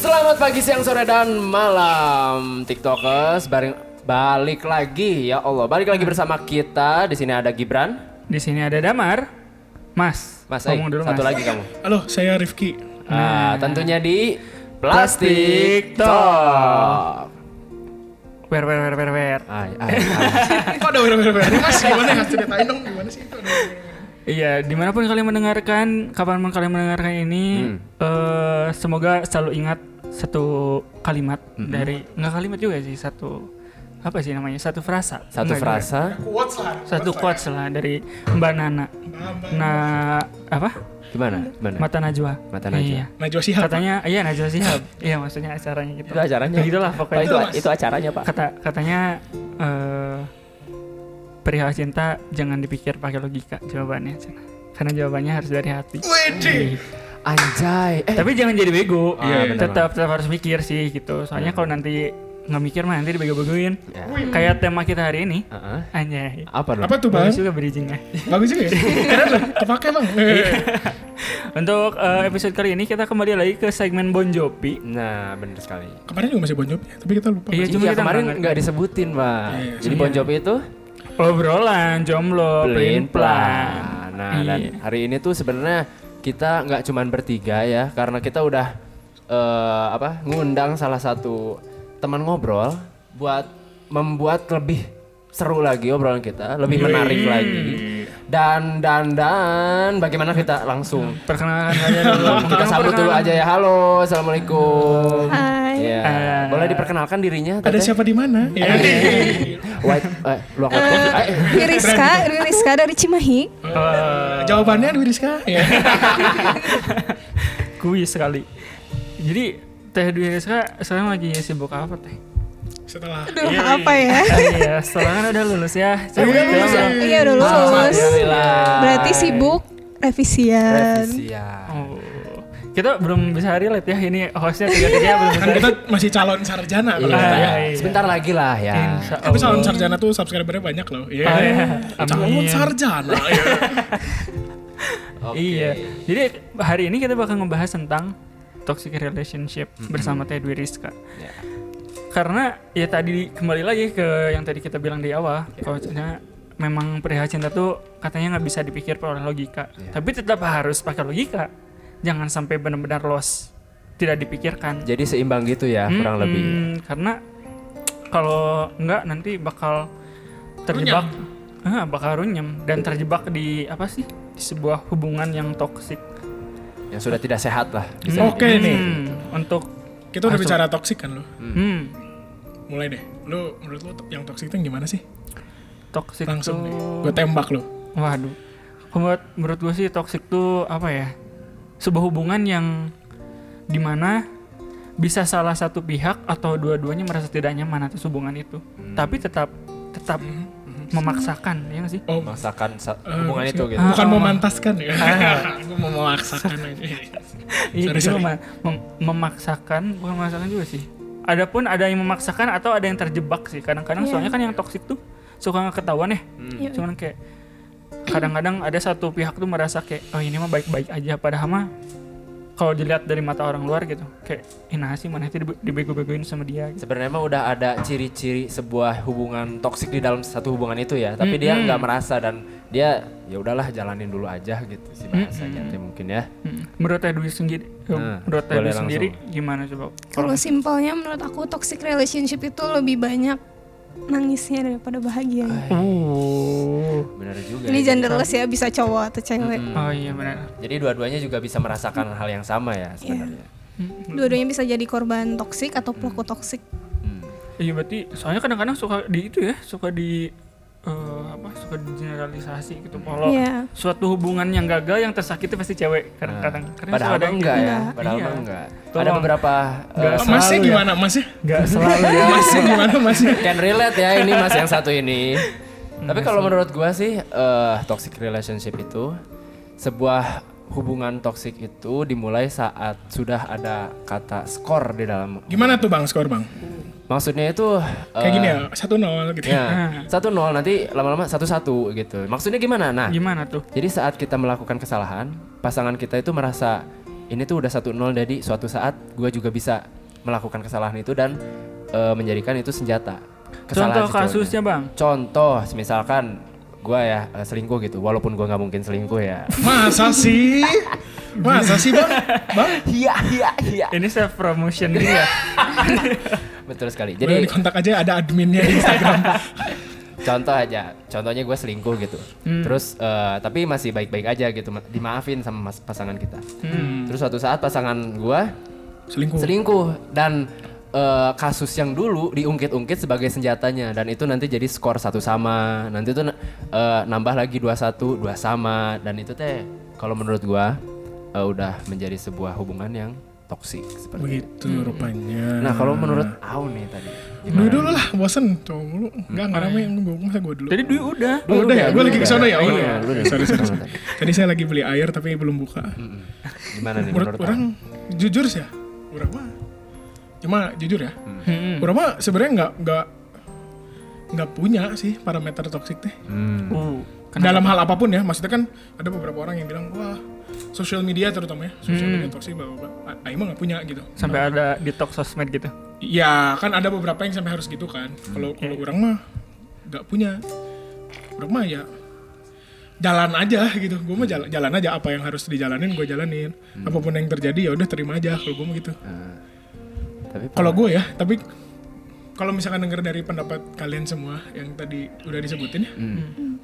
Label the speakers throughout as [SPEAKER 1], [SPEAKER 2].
[SPEAKER 1] Selamat pagi, siang, sore, dan malam TikTokers bareng balik lagi ya Allah. Balik lagi bersama kita. Di sini ada Gibran.
[SPEAKER 2] Di sini ada Damar. Mas,
[SPEAKER 1] Mas, eh,
[SPEAKER 2] ngomong dulu
[SPEAKER 1] satu
[SPEAKER 2] Mas. Nah.
[SPEAKER 1] lagi kamu.
[SPEAKER 3] Halo, saya Rifki.
[SPEAKER 1] Ah, tentunya di Plastik
[SPEAKER 2] Plastik
[SPEAKER 1] Talk.
[SPEAKER 2] Wer wer wer wer wer.
[SPEAKER 1] Ay, ay, ay.
[SPEAKER 3] Kok ada wira-wira baru? Mas, gimana ya? Ceritain dong gimana sih itu ada wira-wira.
[SPEAKER 2] Iya, dimanapun kalian mendengarkan, kapanpun kalian mendengarkan ini,
[SPEAKER 1] Hmm.
[SPEAKER 2] eh, semoga selalu ingat satu kalimat
[SPEAKER 1] Hmm.
[SPEAKER 2] dari nggak kalimat juga sih satu apa sih namanya satu frasa.
[SPEAKER 1] Satu
[SPEAKER 2] Nggak juga.
[SPEAKER 1] frasa.
[SPEAKER 3] Quotes lah.
[SPEAKER 2] Satu quotes lah dari Mbak Nana. Nah, apa?
[SPEAKER 1] Gimana? Gimana?
[SPEAKER 2] Mata Najwa.
[SPEAKER 1] Mata Najwa.
[SPEAKER 2] Iya.
[SPEAKER 3] Najwa Shihab.
[SPEAKER 2] Katanya, iya Najwa Shihab. iya, maksudnya acaranya gitu.
[SPEAKER 1] Itu acaranya.
[SPEAKER 2] Begitulah
[SPEAKER 1] Pak,
[SPEAKER 2] pokoknya.
[SPEAKER 1] itu, itu acaranya, Pak.
[SPEAKER 2] kata katanya eh perihal cinta jangan dipikir pakai logika jawabannya Cen. karena jawabannya harus dari hati
[SPEAKER 3] Wede.
[SPEAKER 1] Anjay. Eh,
[SPEAKER 2] tapi jangan jadi bego
[SPEAKER 1] Iya, bener
[SPEAKER 2] tetap tetap harus mikir sih gitu soalnya kalau nanti nggak mikir mah nanti dibego-begoin
[SPEAKER 1] Ya.
[SPEAKER 2] kayak tema kita hari ini
[SPEAKER 1] Heeh.
[SPEAKER 2] anjay
[SPEAKER 1] Apa dong?
[SPEAKER 3] Apa tuh, Bang?
[SPEAKER 2] bagus juga bridgingnya
[SPEAKER 3] Bagus juga ya? Keren loh. Kepake, Bang. Eh,
[SPEAKER 2] untuk eh, episode kali ini kita kembali lagi ke segmen Bon Jovi
[SPEAKER 1] Nah, bener sekali.
[SPEAKER 3] Kemarin juga masih Bon Jovi, tapi kita lupa.
[SPEAKER 2] Iya. cuma
[SPEAKER 1] Iya,
[SPEAKER 2] kita
[SPEAKER 1] kemarin
[SPEAKER 2] nggak-
[SPEAKER 1] nggak disebutin, Pak.
[SPEAKER 3] Iya,
[SPEAKER 1] Jadi Bon Jovi itu
[SPEAKER 2] obrolan jomblo
[SPEAKER 1] Pelin
[SPEAKER 2] pelin
[SPEAKER 1] pelan.
[SPEAKER 2] pelan
[SPEAKER 1] Nah, dan
[SPEAKER 2] Iya.
[SPEAKER 1] hari ini tuh sebenarnya kita nggak cuman bertiga ya, karena kita udah eh, apa ngundang salah satu teman ngobrol buat membuat lebih seru lagi obrolan kita, lebih
[SPEAKER 2] Iya.
[SPEAKER 1] menarik lagi. Dan dan dan bagaimana kita langsung
[SPEAKER 2] perkenalkan saja dulu
[SPEAKER 1] kita
[SPEAKER 2] Kamu
[SPEAKER 1] sambut dulu
[SPEAKER 2] perkenalan.
[SPEAKER 1] aja ya. Halo, assalamualaikum.
[SPEAKER 4] Hai.
[SPEAKER 1] Ya.
[SPEAKER 2] Hai.
[SPEAKER 1] Boleh diperkenalkan dirinya?
[SPEAKER 3] Ada
[SPEAKER 1] Teteh?
[SPEAKER 3] siapa di mana? Iya.
[SPEAKER 1] White, eh, luak white coat. Eh, eh.
[SPEAKER 4] Ririska,
[SPEAKER 2] gitu.
[SPEAKER 4] Ririska dari Cimahi.
[SPEAKER 3] Eh, Jawabannya Dwi Rizka. Iya.
[SPEAKER 2] kuis sekali. Jadi Teh Dwi Rizka sekarang lagi sibuk apa Teh?
[SPEAKER 3] Setelah
[SPEAKER 4] Aduh, apa ya?
[SPEAKER 2] Iya, setelah kan udah lulus ya. Coba
[SPEAKER 3] udah lulus ya?
[SPEAKER 4] Iya, udah lulus.
[SPEAKER 1] Alhamdulillah.
[SPEAKER 4] Berarti sibuk revisian.
[SPEAKER 1] Revisian.
[SPEAKER 2] Oh, kita belum bisa relate ya ini hostnya tiga tiga belum
[SPEAKER 3] kan
[SPEAKER 2] bisa.
[SPEAKER 3] kita masih calon sarjana kalau kita ya.
[SPEAKER 2] Ah,
[SPEAKER 1] Iya. Sebentar lagi lah ya.
[SPEAKER 2] Insya
[SPEAKER 3] Tapi calon
[SPEAKER 2] Allah.
[SPEAKER 3] sarjana tuh subscribernya banyak loh. Iya.
[SPEAKER 2] Ah, Oh. iya.
[SPEAKER 3] Calon
[SPEAKER 2] Amin.
[SPEAKER 3] sarjana. Iya.
[SPEAKER 1] Oke.
[SPEAKER 2] Iya. Jadi hari ini kita bakal ngebahas tentang toxic relationship bersama Teh Dwi Rizka.
[SPEAKER 1] Ya.
[SPEAKER 2] Karena ya tadi kembali lagi ke yang tadi kita bilang di awal,
[SPEAKER 1] Ya.
[SPEAKER 2] kalau cinta- memang perihal cinta tuh katanya nggak bisa dipikir oleh logika,
[SPEAKER 1] Ya.
[SPEAKER 2] tapi tetap harus pakai logika. Jangan sampai benar-benar lost, tidak dipikirkan.
[SPEAKER 1] Jadi seimbang gitu ya, kurang lebih.
[SPEAKER 2] Hmm, karena kalau nggak nanti bakal terjebak, Ah, bakal runyam dan terjebak di apa sih? Di sebuah hubungan yang toksik.
[SPEAKER 1] Yang sudah tidak sehat lah. bisa
[SPEAKER 3] Oke
[SPEAKER 1] dibilang.
[SPEAKER 3] nih.
[SPEAKER 2] Hmm, untuk
[SPEAKER 3] Kita udah bicara toksik kan lo.
[SPEAKER 2] hmm,
[SPEAKER 3] Mulai deh. Lu menurut lu yang toksik itu yang gimana sih?
[SPEAKER 2] toksik
[SPEAKER 3] Langsung
[SPEAKER 2] tuh-
[SPEAKER 3] nih. Gue tembak lo.
[SPEAKER 2] Waduh. Menurut, menurut gue sih toxic tuh apa ya? Sebuah hubungan yang dimana bisa salah satu pihak atau dua-duanya merasa tidak nyaman atas hubungan itu.
[SPEAKER 1] Hmm.
[SPEAKER 2] Tapi tetap tetap
[SPEAKER 3] Hmm,
[SPEAKER 2] memaksakan, ya nggak sih?
[SPEAKER 3] Oh,
[SPEAKER 1] Memaksakan sa- hubungan itu gitu.
[SPEAKER 2] Ah.
[SPEAKER 3] bukan memantaskan ya. Gue mau memaksakan aja.
[SPEAKER 2] Iya,
[SPEAKER 3] Sorry,
[SPEAKER 2] itu
[SPEAKER 3] sorry.
[SPEAKER 2] mem- mem- memaksakan, bukan memaksakan juga sih. Adapun ada yang memaksakan atau ada yang terjebak sih. Kadang-kadang
[SPEAKER 4] Iya.
[SPEAKER 2] soalnya kan yang toxic tuh suka nggak ketahuan ya.
[SPEAKER 1] Hmm.
[SPEAKER 4] Iya.
[SPEAKER 2] Cuman kayak kadang-kadang ada satu pihak tuh merasa kayak oh ini mah baik-baik aja padahal mah kalau dilihat dari mata orang luar gitu kayak ina sih mana itu dibe- dibego-begoin sama dia gitu.
[SPEAKER 1] Sebenarnya emang udah ada ciri-ciri sebuah hubungan toksik di dalam satu hubungan itu ya, tapi dia
[SPEAKER 2] Hmm.
[SPEAKER 1] nggak merasa dan dia ya udahlah jalanin dulu aja gitu sih bahasanya tuh mungkin ya.
[SPEAKER 2] Hmm. Menurut Teh Dwi sendiri,
[SPEAKER 1] Nah,
[SPEAKER 2] menurut Teh
[SPEAKER 1] boleh
[SPEAKER 2] Dwi sendiri gimana coba?
[SPEAKER 4] Kalau simpelnya menurut aku toxic relationship itu lebih banyak nangisnya daripada bahagia.
[SPEAKER 2] Ah, Uh.
[SPEAKER 1] Benar juga.
[SPEAKER 4] Ini
[SPEAKER 1] ya.
[SPEAKER 4] genderless ya, bisa cowok atau cewek.
[SPEAKER 1] Hmm.
[SPEAKER 2] Oh iya benar.
[SPEAKER 1] Jadi dua-duanya juga bisa merasakan hal yang sama ya sebenarnya.
[SPEAKER 2] Iya.
[SPEAKER 4] Dua-duanya bisa jadi korban toksik atau pelaku toksik.
[SPEAKER 1] Hmm.
[SPEAKER 2] Iya berarti soalnya kadang-kadang suka di itu ya, suka di eh, apa? Suka di generalisasi gitu. Kalau
[SPEAKER 4] Iya.
[SPEAKER 2] suatu hubungan yang gagal yang tersakiti pasti cewek kadang-kadang. Kadang
[SPEAKER 1] Padahal
[SPEAKER 2] suka ada
[SPEAKER 1] mah
[SPEAKER 2] yang
[SPEAKER 1] enggak
[SPEAKER 2] gitu.
[SPEAKER 1] ya, padahal
[SPEAKER 2] Iya.
[SPEAKER 1] mah enggak. Ada
[SPEAKER 2] Tolong.
[SPEAKER 1] beberapa
[SPEAKER 2] Nggak
[SPEAKER 1] eh,
[SPEAKER 3] Masih
[SPEAKER 2] Selalu ya.
[SPEAKER 3] Oh, gimana? Masih?
[SPEAKER 2] Enggak selalu ya.
[SPEAKER 3] Masih gimana? Masih?
[SPEAKER 1] Can relate ya ini mas yang satu ini.
[SPEAKER 3] Hmm,
[SPEAKER 1] Tapi kalau menurut gua sih eh, toxic relationship itu sebuah hubungan toksik itu dimulai saat sudah ada kata skor di dalam.
[SPEAKER 3] Gimana tuh bang skor bang?
[SPEAKER 1] Maksudnya itu eh,
[SPEAKER 3] Kayak gini ya, satu nol gitu.
[SPEAKER 1] Ya, satu nol nanti lama-lama satu satu gitu. Maksudnya gimana? Nah,
[SPEAKER 2] Gimana tuh?
[SPEAKER 1] jadi saat kita melakukan kesalahan, pasangan kita itu merasa ini tuh udah satu nol jadi suatu saat gua juga bisa melakukan kesalahan itu dan eh, menjadikan itu senjata. Kesalahan
[SPEAKER 2] Contoh
[SPEAKER 1] si cowoknya.
[SPEAKER 2] kasusnya bang.
[SPEAKER 1] Contoh, misalkan gua ya eh, selingkuh gitu, walaupun gua nggak mungkin selingkuh ya.
[SPEAKER 3] Masa sih? Masa sih bang? Bang?
[SPEAKER 1] Iya, iya, iya.
[SPEAKER 2] Ini self promotion gitu ya.
[SPEAKER 1] Betul sekali. Jadi
[SPEAKER 3] Boleh dikontak aja ada adminnya di Instagram.
[SPEAKER 1] contoh aja, contohnya gua selingkuh gitu. Terus eh, tapi masih baik-baik aja gitu, ma- dimaafin sama mas- pasangan kita. Terus suatu saat pasangan gua
[SPEAKER 3] Selingkuh.
[SPEAKER 1] selingkuh dan eh, kasus yang dulu diungkit-ungkit sebagai senjatanya dan itu nanti jadi skor satu sama nanti itu nambah lagi dua satu dua sama dan itu teh kalau menurut gua eh, udah menjadi sebuah hubungan yang toksik seperti
[SPEAKER 3] Begitu rupanya.
[SPEAKER 1] nah kalau menurut Aun nih tadi
[SPEAKER 3] Dulu dulu lah, bosen cowok mulu. Enggak, enggak rame yang nunggu. Masa gue dulu?
[SPEAKER 2] Jadi Dwi udah.
[SPEAKER 3] Oh, udah ya, gue lagi ke sana
[SPEAKER 1] Iya,
[SPEAKER 3] ya. Oh, iya.
[SPEAKER 1] lu udah.
[SPEAKER 3] Sorry, sorry, sorry. Tadi saya lagi beli air tapi belum buka.
[SPEAKER 1] gimana nih
[SPEAKER 3] Menurut
[SPEAKER 1] menurut
[SPEAKER 3] orang
[SPEAKER 1] Aun?
[SPEAKER 3] jujur sih ya. Orang mah cuma jujur ya.
[SPEAKER 2] Hmm.
[SPEAKER 3] Orang mah sebenarnya nggak nggak nggak punya sih parameter toksik teh.
[SPEAKER 1] Hmm.
[SPEAKER 2] Uh,
[SPEAKER 3] Dalam hal apapun ya, maksudnya kan ada beberapa orang yang bilang wah social media terutama ya, social media toksik bla bla bla. A- Aing mah nggak punya gitu.
[SPEAKER 2] sampai ada detox sosmed gitu.
[SPEAKER 3] Ya kan ada beberapa yang sampai harus gitu kan.
[SPEAKER 1] Hmm.
[SPEAKER 3] Kalau kalau orang mah nggak punya. Orang mah ya jalan aja gitu. Gue mah jalan, jalan aja apa yang harus dijalanin gue jalanin.
[SPEAKER 1] Hmm.
[SPEAKER 3] Apapun yang terjadi ya udah terima aja kalau gue mah gitu.
[SPEAKER 1] tapi
[SPEAKER 3] Kalau gue ya, tapi kalau misalkan denger dari pendapat kalian semua yang tadi udah disebutin ya,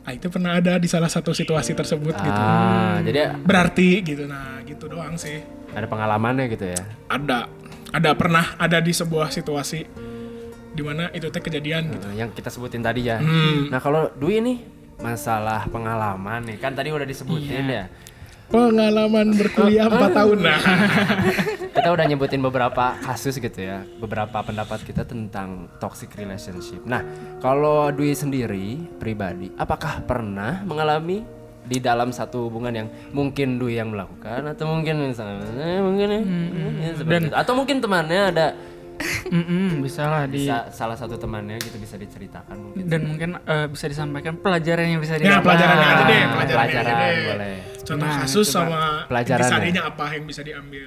[SPEAKER 3] ah, itu pernah ada di salah satu situasi tersebut gitu.
[SPEAKER 1] Hmm. ah jadi
[SPEAKER 3] Berarti gitu, nah gitu doang sih.
[SPEAKER 1] ada pengalamannya gitu ya
[SPEAKER 3] Ada, ada pernah ada di sebuah situasi dimana itu teh kejadian gitu.
[SPEAKER 1] Nah, yang kita sebutin tadi ya.
[SPEAKER 3] Hmm.
[SPEAKER 1] Nah kalau Dwi nih masalah pengalaman nih kan tadi udah disebutin ya.
[SPEAKER 3] Iya. Pengalaman berkuliah
[SPEAKER 1] Ah.
[SPEAKER 3] 4 tahun nah.
[SPEAKER 1] Kita udah nyebutin beberapa kasus gitu ya, beberapa pendapat kita tentang toxic relationship. Nah kalau Dwi sendiri pribadi, apakah pernah mengalami di dalam satu hubungan yang mungkin Dwi yang melakukan atau mungkin misalnya eh, mungkin ya, ya, seperti itu. atau mungkin temannya ada
[SPEAKER 2] Mm-mm, bisa lah di
[SPEAKER 1] bisa salah satu temannya gitu bisa diceritakan mungkin.
[SPEAKER 2] dan mungkin eh, bisa disampaikan pelajaran yang bisa
[SPEAKER 3] Ya
[SPEAKER 2] diambil.
[SPEAKER 3] pelajarannya aja deh,
[SPEAKER 1] Ah,
[SPEAKER 3] pelajarannya aja
[SPEAKER 1] pelajaran,
[SPEAKER 3] deh.
[SPEAKER 1] boleh.
[SPEAKER 3] Contoh
[SPEAKER 2] Nah,
[SPEAKER 3] kasus
[SPEAKER 2] coba.
[SPEAKER 3] sama
[SPEAKER 1] Pelajarannya.
[SPEAKER 3] intisarinya apa yang bisa diambil.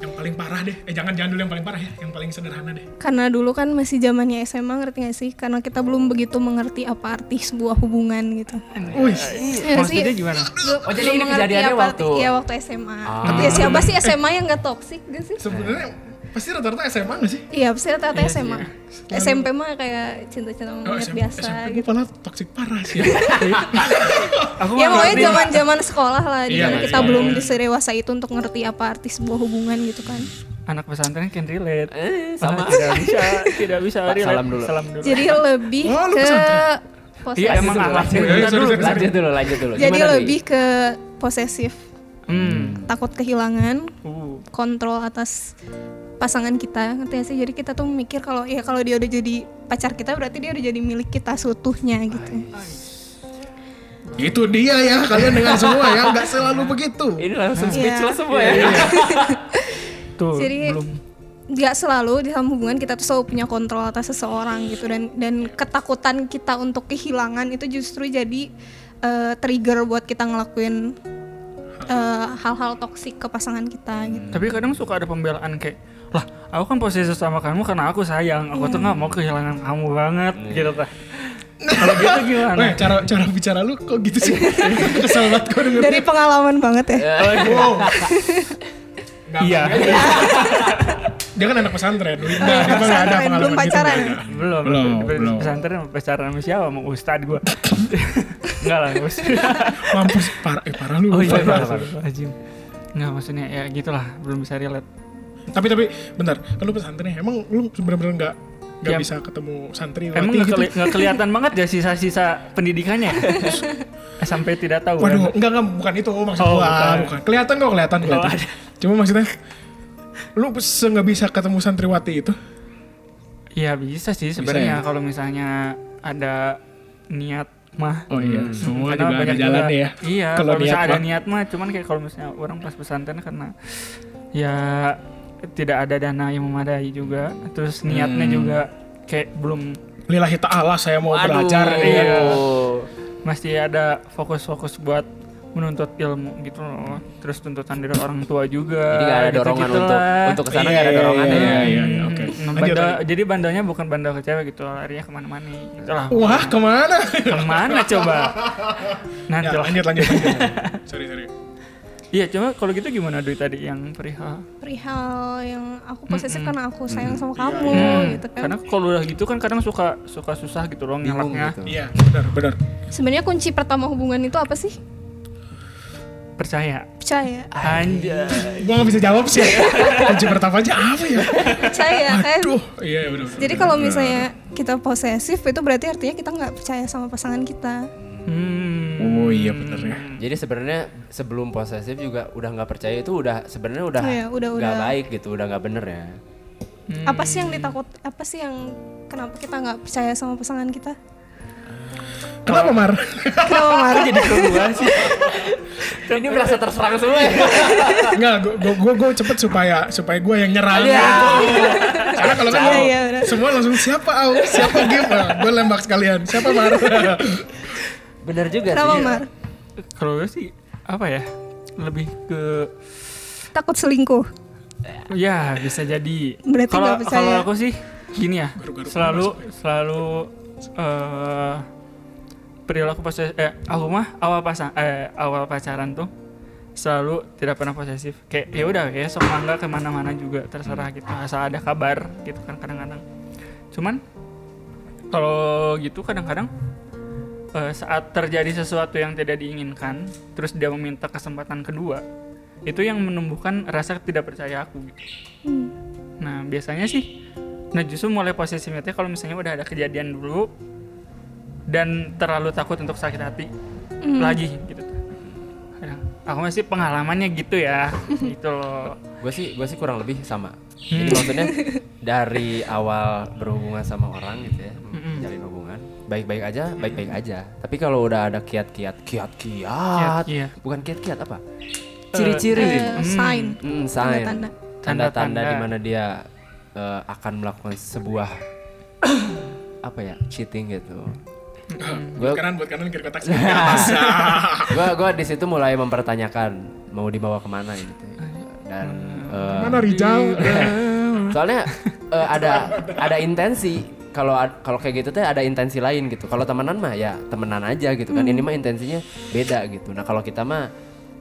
[SPEAKER 3] Yang paling parah deh. Eh jangan jangan dulu yang paling parah ya, yang paling sederhana deh.
[SPEAKER 4] Karena dulu kan masih zamannya SMA ngerti gak sih? Karena kita belum begitu mengerti apa arti sebuah hubungan gitu.
[SPEAKER 3] Wih.
[SPEAKER 4] Iya nggak
[SPEAKER 2] Maksudnya gimana?
[SPEAKER 4] Belum-
[SPEAKER 1] Oh, jadi
[SPEAKER 4] belum
[SPEAKER 1] ini
[SPEAKER 4] mengerti
[SPEAKER 1] kejadiannya
[SPEAKER 4] apa arti-
[SPEAKER 1] waktu-
[SPEAKER 4] Iya waktu SMA. Tapi ya siapa sih SMA yang gak toksik gak sih?
[SPEAKER 3] Sebenarnya pasti rata-rata SMA gak sih?
[SPEAKER 4] Iya, pasti rata-rata SMA. SMP mah kayak cinta-cinta
[SPEAKER 3] Oh,
[SPEAKER 4] monyet biasa
[SPEAKER 3] SMP gue
[SPEAKER 4] gitu.
[SPEAKER 3] malah toxic parah sih.
[SPEAKER 2] Aku
[SPEAKER 4] Ya
[SPEAKER 2] mau
[SPEAKER 4] pokoknya
[SPEAKER 2] ngerti.
[SPEAKER 4] zaman-zaman sekolah lah, di
[SPEAKER 3] Iya,
[SPEAKER 4] mana kita
[SPEAKER 3] iya,
[SPEAKER 4] belum
[SPEAKER 3] iya.
[SPEAKER 4] diserewasa itu untuk ngerti apa arti sebuah hubungan gitu kan.
[SPEAKER 2] anak pesantren can relate.
[SPEAKER 1] Eh,
[SPEAKER 2] Ah, tidak bisa, tidak bisa
[SPEAKER 1] Pak,
[SPEAKER 2] relate.
[SPEAKER 1] salam dulu.
[SPEAKER 2] Salam dulu.
[SPEAKER 4] Jadi lebih
[SPEAKER 3] Oh, lu
[SPEAKER 4] ke
[SPEAKER 3] pesantren.
[SPEAKER 2] Iya,
[SPEAKER 4] posesif.
[SPEAKER 2] emang
[SPEAKER 1] Lanjut dulu,
[SPEAKER 2] akhlaknya
[SPEAKER 1] lanjut
[SPEAKER 2] kita
[SPEAKER 3] dulu.
[SPEAKER 2] dulu.
[SPEAKER 3] Sorry,
[SPEAKER 1] lanjut dulu lanjut dulu
[SPEAKER 4] Jadi
[SPEAKER 1] Gimana, Dwi?
[SPEAKER 4] lebih ke posesif,
[SPEAKER 2] Hmm.
[SPEAKER 4] takut kehilangan,
[SPEAKER 2] Uh.
[SPEAKER 4] kontrol atas pasangan kita ngerti gak sih jadi kita tuh mikir kalau ya kalau dia udah jadi pacar kita berarti dia udah jadi milik kita seutuhnya gitu
[SPEAKER 3] Itu dia ya, kalian dengar semua ya, nggak selalu begitu.
[SPEAKER 1] Ini langsung
[SPEAKER 4] Iya.
[SPEAKER 1] speechless semua ya.
[SPEAKER 2] Tuh,
[SPEAKER 4] Jadi-
[SPEAKER 2] belum.
[SPEAKER 4] nggak selalu di dalam hubungan kita tuh selalu punya kontrol atas seseorang gitu dan dan ketakutan kita untuk kehilangan itu justru jadi eh, trigger buat kita ngelakuin eh, hal-hal toksik ke pasangan kita gitu
[SPEAKER 2] Tapi kadang suka ada pembelaan kayak, lah aku kan posesif sama kamu karena aku sayang. Aku tuh nggak
[SPEAKER 4] Hmm.
[SPEAKER 2] mau kehilangan kamu banget,
[SPEAKER 1] Iya.
[SPEAKER 2] gitu tah. Kalau gitu gimana?
[SPEAKER 3] Weh, Eh, cara cara bicara lu kok gitu sih? Kesel banget gue denger.
[SPEAKER 4] dari pengalaman banget ya
[SPEAKER 3] Wow. Nggak,
[SPEAKER 2] Iya.
[SPEAKER 3] Dia kan anak pesantren, Winda. Dia mah nggak ada
[SPEAKER 4] pesantren, belum
[SPEAKER 3] pengalaman gitu,
[SPEAKER 4] pacaran.
[SPEAKER 3] nggak ada.
[SPEAKER 2] belum,
[SPEAKER 3] Belum,
[SPEAKER 2] Di
[SPEAKER 3] belum.
[SPEAKER 2] pesantren sama pacaran sama siapa mau ustad gua enggak lah gus
[SPEAKER 3] Mampus, parah, eh, parah lu.
[SPEAKER 2] oh iya
[SPEAKER 3] parah.
[SPEAKER 2] Ajim enggak maksudnya ya gitulah belum bisa relate
[SPEAKER 3] Tapi tapi bentar, kan lu pesantren ya, emang lu bener-bener nggak nggak
[SPEAKER 2] Ya.
[SPEAKER 3] bisa ketemu santri
[SPEAKER 2] emang nggak
[SPEAKER 3] gitu.
[SPEAKER 2] keli- nggak kelihatan banget ya sisa-sisa pendidikannya Eh, sampai tidak tahu
[SPEAKER 3] Waduh,
[SPEAKER 2] kan?
[SPEAKER 3] enggak enggak bukan itu maksud
[SPEAKER 2] Oh,
[SPEAKER 3] gua.
[SPEAKER 2] bukan.
[SPEAKER 3] Bukan. Oh, Kelihatan kok, kelihatan kelihatan.
[SPEAKER 2] ada.
[SPEAKER 3] Cuma maksudnya lu se nggak bisa ketemu santriwati itu?
[SPEAKER 2] ya bisa sih
[SPEAKER 3] ya?
[SPEAKER 2] sebenarnya kalau misalnya ada niat mah Hmm,
[SPEAKER 3] Oh iya, semua
[SPEAKER 2] Karena
[SPEAKER 3] juga ada
[SPEAKER 2] banyak
[SPEAKER 3] jalan
[SPEAKER 2] juga-
[SPEAKER 3] ya.
[SPEAKER 2] Iya,
[SPEAKER 3] Kalau
[SPEAKER 2] kalau misalnya
[SPEAKER 3] niat
[SPEAKER 2] ada
[SPEAKER 3] mah.
[SPEAKER 2] niat mah, cuman kayak kalau misalnya orang pas pesantren karena ya tidak ada dana yang memadai juga, terus niatnya
[SPEAKER 3] Hmm.
[SPEAKER 2] juga kayak belum
[SPEAKER 3] Lillahi ta'ala saya mau Iya.
[SPEAKER 4] iya,
[SPEAKER 1] Waduh. Iya.
[SPEAKER 3] belajar. Iya.
[SPEAKER 2] masih ada fokus-fokus buat menuntut ilmu gitu loh terus tuntutan dari orang tua juga
[SPEAKER 1] Jadi nggak ada dorongan
[SPEAKER 2] gitu-gitu
[SPEAKER 1] untuk
[SPEAKER 2] Gitu, lah.
[SPEAKER 1] untuk kesana nggak ada dorongan
[SPEAKER 3] Iya,
[SPEAKER 1] ya.
[SPEAKER 3] iya, iya, iya, oke.
[SPEAKER 2] Hmm,
[SPEAKER 3] Lanjut,
[SPEAKER 2] bandel-
[SPEAKER 3] lanjut.
[SPEAKER 2] jadi bandalnya bukan bandal ke cewek gitu larinya kemana-mana
[SPEAKER 3] Iya.
[SPEAKER 2] gitu lah
[SPEAKER 3] Wah, kemana?
[SPEAKER 2] kemana coba nanti
[SPEAKER 3] ya,
[SPEAKER 2] lah
[SPEAKER 3] lanjut, lanjut, lanjut. sorry, sorry.
[SPEAKER 2] iya cuma kalau gitu gimana Dwi tadi yang perihal
[SPEAKER 4] perihal yang aku posesif karena aku sayang sama kamu
[SPEAKER 2] Hmm,
[SPEAKER 4] gitu kan
[SPEAKER 2] karena kalau udah gitu kan kadang suka suka susah gitu loh
[SPEAKER 1] Bingung
[SPEAKER 2] ngelaknya
[SPEAKER 1] gitu.
[SPEAKER 3] Iya, benar, benar.
[SPEAKER 4] sebenarnya kunci pertama hubungan itu apa sih
[SPEAKER 2] percaya
[SPEAKER 4] percaya
[SPEAKER 2] anjay
[SPEAKER 3] Gua nggak bisa jawab sih. Kunci pertama aja apa ya?
[SPEAKER 4] percaya kan
[SPEAKER 3] Aduh, iya, benar. benar.
[SPEAKER 4] jadi kalau misalnya kita posesif itu berarti artinya kita nggak percaya sama pasangan kita
[SPEAKER 2] hmm.
[SPEAKER 3] Oh iya benar ya.
[SPEAKER 1] Jadi sebenarnya sebelum posesif juga udah nggak percaya itu udah sebenarnya udah
[SPEAKER 4] Iya, udah-
[SPEAKER 1] nggak
[SPEAKER 4] udah.
[SPEAKER 1] baik gitu, udah nggak bener ya.
[SPEAKER 4] apa sih
[SPEAKER 1] Hmm.
[SPEAKER 4] yang ditakut apa sih yang kenapa kita nggak percaya sama pasangan kita
[SPEAKER 3] Kenapa Mar?
[SPEAKER 4] kenapa marah
[SPEAKER 1] Jadi gua sih. Ini merasa terserang semua ya.
[SPEAKER 3] Enggak, gua, gua, gua, gua cepet supaya supaya gua yang nyerang. gitu. Karena kalau kan
[SPEAKER 4] Iya,
[SPEAKER 3] lu-
[SPEAKER 4] iya, benar.
[SPEAKER 3] semua langsung siapa au, siapa game, gue lembak sekalian. Siapa Mar?
[SPEAKER 1] Iya. Bener juga
[SPEAKER 4] kenapa
[SPEAKER 1] sih.
[SPEAKER 4] mar
[SPEAKER 2] kalau gue sih apa ya lebih ke
[SPEAKER 4] takut selingkuh
[SPEAKER 2] ya bisa jadi
[SPEAKER 4] Berarti
[SPEAKER 2] kalau
[SPEAKER 4] nggak percaya. ya?
[SPEAKER 2] kalau aku sih gini ya
[SPEAKER 3] Garuk-garuk
[SPEAKER 2] selalu selalu eh perilaku posesif eh aku mah awal pasang eh awal pacaran tuh selalu tidak pernah posesif kayak ya udah ya sok mangga kemana-mana juga terserah gitu asal ada kabar gitu kan kadang-kadang cuman kalau gitu kadang-kadang eh, saat terjadi sesuatu yang tidak diinginkan terus dia meminta kesempatan kedua itu yang menumbuhkan rasa tidak percaya aku gitu
[SPEAKER 4] Hmm.
[SPEAKER 2] nah biasanya sih nah justru mulai posesifnya tuh kalau misalnya udah ada kejadian dulu dan terlalu takut untuk sakit hati lagi gitu Kadang- aku masih pengalamannya gitu ya gitu loh
[SPEAKER 1] Gue sih gue sih kurang lebih sama. Jadi maksudnya dari awal berhubungan sama orang gitu ya, menjalin hubungan baik-baik aja, baik-baik aja. Tapi kalau udah ada kiat-kiat, kiat-kiat,
[SPEAKER 2] Kiat-kiat.
[SPEAKER 1] bukan kiat-kiat apa? iya. Ciri-ciri.
[SPEAKER 4] Eh, sign
[SPEAKER 1] Hmm, sign.
[SPEAKER 4] Tanda-tanda.
[SPEAKER 1] Tanda-tanda
[SPEAKER 2] Tanda-tanda.
[SPEAKER 1] di mana dia eh, akan melakukan sebuah apa ya cheating gitu.
[SPEAKER 3] buat kanan, buat kanan, kiri kotak, kiri atas.
[SPEAKER 1] Gua gua di situ mulai mempertanyakan mau dibawa kemana ini tuh. Dan eh,
[SPEAKER 3] Mana Rijal?
[SPEAKER 1] soalnya eh, ada ada intensi kalau ad- kalau kayak gitu tuh ada intensi lain gitu. Kalau temenan mah ya temenan aja gitu kan. Ini mah intensinya beda gitu. Nah kalau kita mah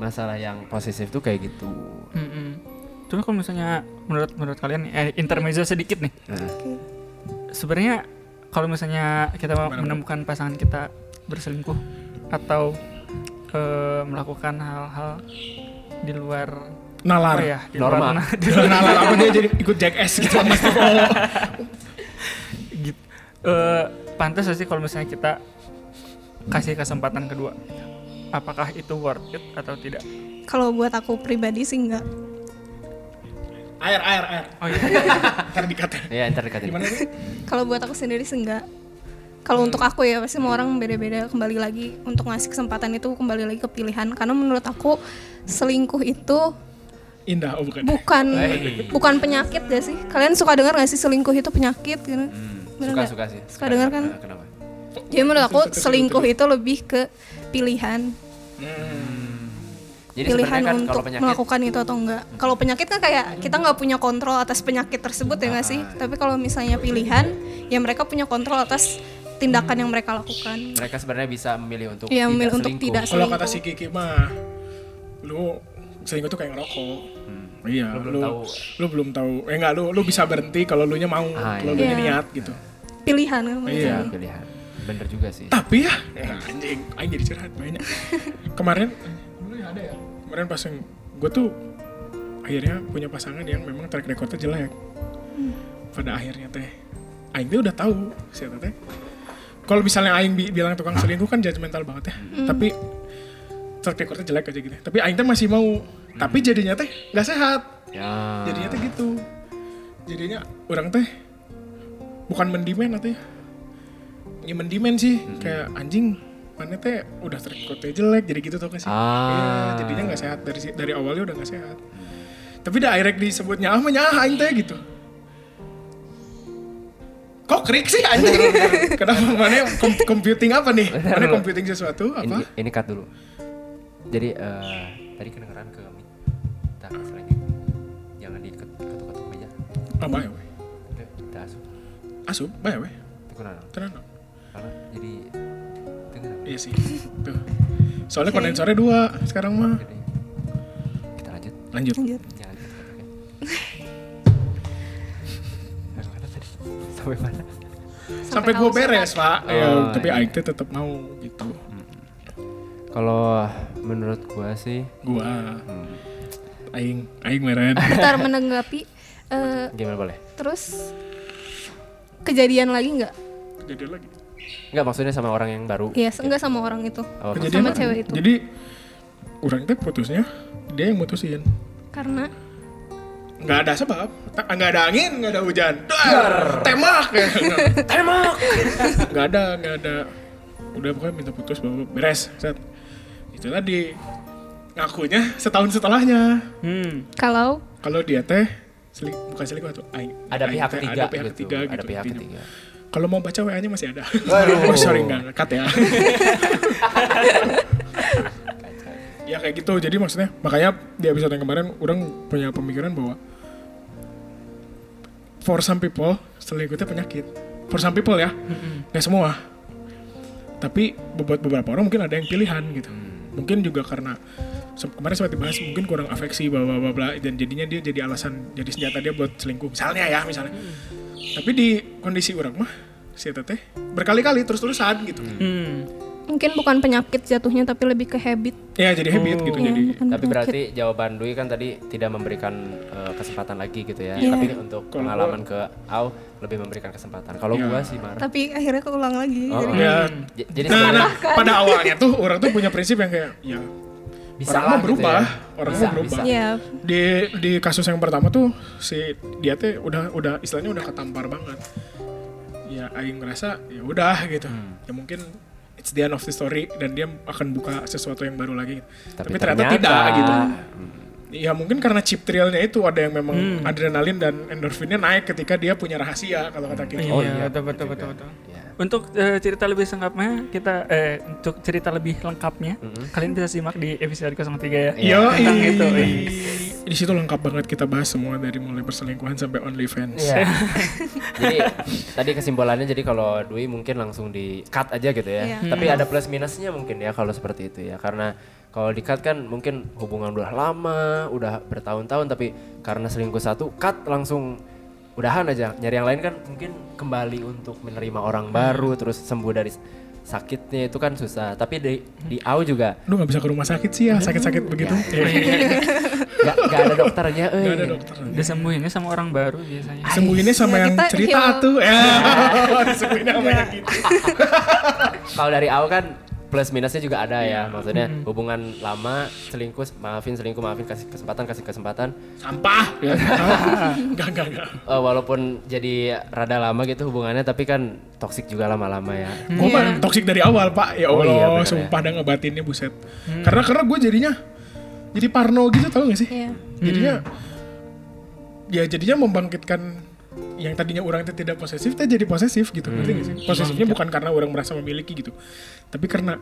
[SPEAKER 1] masalah yang posesif tuh kayak gitu.
[SPEAKER 2] Mm-mm. Cuma kalau misalnya menurut menurut kalian eh, intermezzo sedikit nih.
[SPEAKER 1] Nah,
[SPEAKER 2] Sebenarnya kalau misalnya kita menemukan pasangan kita berselingkuh atau eh, melakukan hal-hal di luar
[SPEAKER 3] Nalar.
[SPEAKER 4] Oh,
[SPEAKER 2] apa
[SPEAKER 4] iya.
[SPEAKER 2] ya? Di
[SPEAKER 1] Normal.
[SPEAKER 2] Luar, di luar-
[SPEAKER 3] Nalar apa dia jadi ikut jackass gitu sama
[SPEAKER 2] gitu. Eh, pantas nggak sih kalau misalnya kita kasih kesempatan kedua. Apakah itu worth it atau tidak?
[SPEAKER 4] kalau buat aku pribadi sih enggak
[SPEAKER 3] Air, air, air.
[SPEAKER 2] Oh iya.
[SPEAKER 3] Ntar dikata.
[SPEAKER 1] ya ntar dekatin.
[SPEAKER 3] Gimana sih?
[SPEAKER 4] kalau buat aku sendiri sih enggak kalau
[SPEAKER 1] Hmm.
[SPEAKER 4] untuk aku ya pasti semua orang beda-beda kembali lagi untuk ngasih kesempatan itu kembali lagi ke pilihan karena menurut aku selingkuh itu
[SPEAKER 3] Indah, oh bukan.
[SPEAKER 4] bukan
[SPEAKER 1] iya.
[SPEAKER 4] bukan penyakit gak sih kalian suka dengar gak sih selingkuh itu penyakit gitu Bener
[SPEAKER 1] Hmm, Suka
[SPEAKER 4] nggak?
[SPEAKER 1] suka sih.
[SPEAKER 4] suka dengar kan
[SPEAKER 1] Eh, Kenapa?
[SPEAKER 4] jadi menurut aku selingkuh itu lebih ke pilihan
[SPEAKER 1] Jadi
[SPEAKER 4] pilihan
[SPEAKER 1] sebenarnya kan kalau
[SPEAKER 4] untuk
[SPEAKER 1] penyakit Hmm.
[SPEAKER 4] melakukan itu atau enggak kalau penyakit kan kayak kita nggak punya kontrol atas penyakit tersebut ya nggak sih
[SPEAKER 1] Ah.
[SPEAKER 4] tapi kalau misalnya pilihan ya mereka punya kontrol atas tindakan yang mereka lakukan
[SPEAKER 1] mereka sebenarnya bisa memilih untuk
[SPEAKER 4] Iya,
[SPEAKER 1] tidak
[SPEAKER 4] memilih untuk
[SPEAKER 1] selingkuh.
[SPEAKER 4] tidak.
[SPEAKER 3] Kalau kata
[SPEAKER 4] selingkuh.
[SPEAKER 3] si Kiki mah, lu selingkuh tuh kayak ngerokok. Iya,
[SPEAKER 1] Hmm. Lu
[SPEAKER 3] lu,
[SPEAKER 1] belum
[SPEAKER 3] lu,
[SPEAKER 1] tahu.
[SPEAKER 3] belum tahu. Eh enggak, lu lu bisa berhenti kalau lu nya mau,
[SPEAKER 1] Ah,
[SPEAKER 3] kalau
[SPEAKER 1] iya.
[SPEAKER 3] lu nya
[SPEAKER 4] Iya.
[SPEAKER 3] niat gitu.
[SPEAKER 4] pilihan kan
[SPEAKER 1] Iya,
[SPEAKER 3] Iya.
[SPEAKER 1] pilihan. Bener juga sih.
[SPEAKER 3] Tapi ya, ya anjing, aing jadi curhat banyak. Kemarin dulu ya ada ya. Kemarin pas yang gue tuh akhirnya punya pasangan yang memang track recordnya jelek. Pada akhirnya teh, aing tuh udah tahu sih teh. Kalau misalnya aing bi- bilang tukang selingkuh kan judgmental banget ya. Tapi track recordnya jelek aja gitu. Tapi aing teh masih mau. Tapi jadinya teh nggak sehat.
[SPEAKER 1] Ya.
[SPEAKER 3] Jadinya teh gitu. Jadinya orang teh bukan mendimen atau ya. Ya mendimen sih
[SPEAKER 1] Hmm.
[SPEAKER 3] kayak anjing mana teh udah terikutnya jelek jadi gitu tau gak sih?
[SPEAKER 1] Ah.
[SPEAKER 3] Iya, jadinya nggak sehat dari si- dari awalnya udah nggak sehat. Tapi dah direct disebutnya ah mah nyah aing teh gitu. Kok krik sih anjing? Kenapa mana kom- computing apa nih? Mana computing sesuatu
[SPEAKER 1] Ini
[SPEAKER 3] apa?
[SPEAKER 1] ini cut dulu. Jadi eh, tadi kedengeran ke mic. Kita ke selanjutnya. Jangan diketuk-ketuk meja.
[SPEAKER 3] Ah, bae we.
[SPEAKER 1] Udah, Kita asup.
[SPEAKER 3] Asup, bae we.
[SPEAKER 1] Tekunan.
[SPEAKER 3] Tenang. dong.
[SPEAKER 1] Karena jadi tengah.
[SPEAKER 3] Iya sih. Tuh. Soalnya kondensornya dua sekarang mah.
[SPEAKER 1] Jadi kita lanjut.
[SPEAKER 3] Lanjut.
[SPEAKER 4] lanjut
[SPEAKER 1] Jangan diketuk-ketuk. ya. Yang mana tadi? Sampai mana?
[SPEAKER 3] Sampai gue
[SPEAKER 4] haus
[SPEAKER 3] beres, Pak. Ya,
[SPEAKER 1] Oh,
[SPEAKER 3] tapi
[SPEAKER 1] iya.
[SPEAKER 3] Aik teh tetap mau gitu.
[SPEAKER 1] Kalau menurut gua sih
[SPEAKER 3] Gua
[SPEAKER 1] Hmm.
[SPEAKER 3] aing aing meren.
[SPEAKER 4] Ntar menanggapi eh,
[SPEAKER 1] gimana boleh?
[SPEAKER 4] terus kejadian lagi nggak?
[SPEAKER 3] Kejadian lagi.
[SPEAKER 1] Enggak maksudnya sama orang yang baru.
[SPEAKER 4] Iya, enggak sama orang itu.
[SPEAKER 1] Oh,
[SPEAKER 3] Kejadian
[SPEAKER 4] Sama
[SPEAKER 3] lagi.
[SPEAKER 4] cewek itu.
[SPEAKER 3] Jadi orang teh putusnya dia yang mutusin.
[SPEAKER 4] Karena
[SPEAKER 3] Nggak ada sebab, Ta- nggak ada angin, nggak ada hujan, Dar, tembak, tembak, nggak ada, nggak ada. Udah pokoknya minta putus, bawa beres. Set. Itu tadi ngakunya setahun setelahnya.
[SPEAKER 2] Hmm.
[SPEAKER 4] kalau
[SPEAKER 3] Kalau dia teh seli- bukan selingkuh tuh, aing-
[SPEAKER 1] ada
[SPEAKER 3] aing
[SPEAKER 1] pihak
[SPEAKER 3] teh
[SPEAKER 1] ketiga
[SPEAKER 3] ada pihak
[SPEAKER 1] gitu.
[SPEAKER 3] ketiga gitu.
[SPEAKER 1] ada pihak
[SPEAKER 3] intinya.
[SPEAKER 1] ketiga.
[SPEAKER 3] Kalau mau baca WA-nya masih ada.
[SPEAKER 1] Waduh.
[SPEAKER 3] oh, sorry nggak cut ya. ya kayak gitu. Jadi maksudnya makanya di episode yang kemarin orang punya pemikiran bahwa for some people selingkuh itu penyakit. For some people ya. Nggak semua. Tapi buat beberapa orang mungkin ada yang pilihan gitu. Mungkin juga karena se- kemarin sempat dibahas mungkin kurang afeksi bla bla bla, bla dan jadinya dia jadi alasan jadi senjata dia buat selingkuh misalnya ya misalnya tapi di kondisi orang mah si Eta teh berkali-kali terus-terusan gitu
[SPEAKER 2] Hmm.
[SPEAKER 4] mungkin bukan penyakit jatuhnya tapi lebih ke habit.
[SPEAKER 3] ya jadi habit gitu
[SPEAKER 4] Iya,
[SPEAKER 3] jadi
[SPEAKER 4] bukan
[SPEAKER 1] Tapi
[SPEAKER 4] penyakit.
[SPEAKER 1] berarti jawaban Dwi kan tadi tidak memberikan eh, kesempatan lagi gitu ya.
[SPEAKER 4] Iya.
[SPEAKER 1] Tapi untuk
[SPEAKER 3] Kalau
[SPEAKER 1] pengalaman ke Au lebih memberikan kesempatan. Kalau
[SPEAKER 3] Iya.
[SPEAKER 1] gua sih marah.
[SPEAKER 4] Tapi akhirnya keulang lagi.
[SPEAKER 1] Oh,
[SPEAKER 4] Jadi,
[SPEAKER 1] oh.
[SPEAKER 3] ya
[SPEAKER 1] J- Jadi
[SPEAKER 3] nah,
[SPEAKER 1] sebenarnya
[SPEAKER 3] nah, pada awalnya tuh orang tuh punya prinsip yang kayak ya
[SPEAKER 1] bisa
[SPEAKER 3] orang
[SPEAKER 1] lah
[SPEAKER 3] mau
[SPEAKER 1] gitu
[SPEAKER 3] berubah
[SPEAKER 1] ya.
[SPEAKER 3] orang
[SPEAKER 1] Bisa,
[SPEAKER 3] mau berubah
[SPEAKER 1] bisa.
[SPEAKER 4] Iya,
[SPEAKER 3] di di kasus yang pertama tuh si dia teh udah udah istilahnya udah ketampar banget ya Aing ngerasa ya udah gitu ya mungkin it's the end of the story dan dia akan buka sesuatu yang baru lagi tapi, ternyata, tidak gitu ya mungkin karena chip trailnya itu ada yang memang adrenalin dan endorfinnya naik ketika dia punya rahasia kalau kata kita
[SPEAKER 1] Oh, iya,
[SPEAKER 2] iya, betul betul betul betul.
[SPEAKER 1] Iya.
[SPEAKER 2] Untuk eh, cerita lebih lengkapnya kita eh untuk cerita lebih lengkapnya kalian bisa simak di episode 03 ya.
[SPEAKER 3] Yo,
[SPEAKER 2] Tentang itu.
[SPEAKER 3] Iya. Di situ lengkap banget kita bahas semua dari mulai perselingkuhan sampai OnlyFans.
[SPEAKER 1] Iya. jadi tadi kesimpulannya jadi kalau Dwi mungkin langsung di cut aja gitu ya.
[SPEAKER 4] Iya.
[SPEAKER 1] Tapi
[SPEAKER 3] Hmm.
[SPEAKER 1] ada plus minusnya mungkin ya kalau seperti itu ya. Karena kalau di cut kan mungkin hubungan udah lama, udah bertahun-tahun tapi karena selingkuh satu cut langsung udahan aja. Nyari yang lain kan mungkin kembali untuk menerima
[SPEAKER 3] Hmm.
[SPEAKER 1] orang baru terus sembuh dari sakitnya itu kan susah. Tapi di di
[SPEAKER 3] Hmm.
[SPEAKER 1] AU juga
[SPEAKER 3] Lu nggak bisa ke rumah sakit sih ya, sakit-sakit begitu. Iya.
[SPEAKER 1] nggak nggak ada dokternya eh.
[SPEAKER 3] Nggak ada dokter.
[SPEAKER 2] Disembuhinnya sama orang baru biasanya.
[SPEAKER 3] Sembuhinnya sama
[SPEAKER 4] Ya,
[SPEAKER 3] yang
[SPEAKER 4] kita
[SPEAKER 3] cerita
[SPEAKER 4] heal.
[SPEAKER 3] tuh. Ya, disembuhinnya sama yang gitu.
[SPEAKER 1] Kalau dari awal kan plus minusnya juga ada ya,
[SPEAKER 2] Iya.
[SPEAKER 1] maksudnya hubungan lama selingkuh maafin selingkuh maafin kasih kesempatan kasih kesempatan
[SPEAKER 3] Sampah. Ya. Enggak, enggak, enggak.
[SPEAKER 1] Eh, walaupun jadi rada lama gitu hubungannya tapi kan toksik juga lama-lama ya.
[SPEAKER 3] Gue mah toksik dari awal pak, ya
[SPEAKER 1] Oh
[SPEAKER 3] Allah,
[SPEAKER 1] iya, bener ya.
[SPEAKER 3] sumpah dah ngebatinnya buset. Karena karena gue jadinya jadi parno gitu tau gak sih?
[SPEAKER 4] Iya.
[SPEAKER 3] Jadinya ya jadinya membangkitkan yang tadinya orang itu tidak posesif, teh jadi posesif gitu. Ngerti
[SPEAKER 1] Hmm.
[SPEAKER 3] nggak sih? Posesifnya
[SPEAKER 1] Iya.
[SPEAKER 3] bukan karena orang merasa memiliki gitu, tapi karena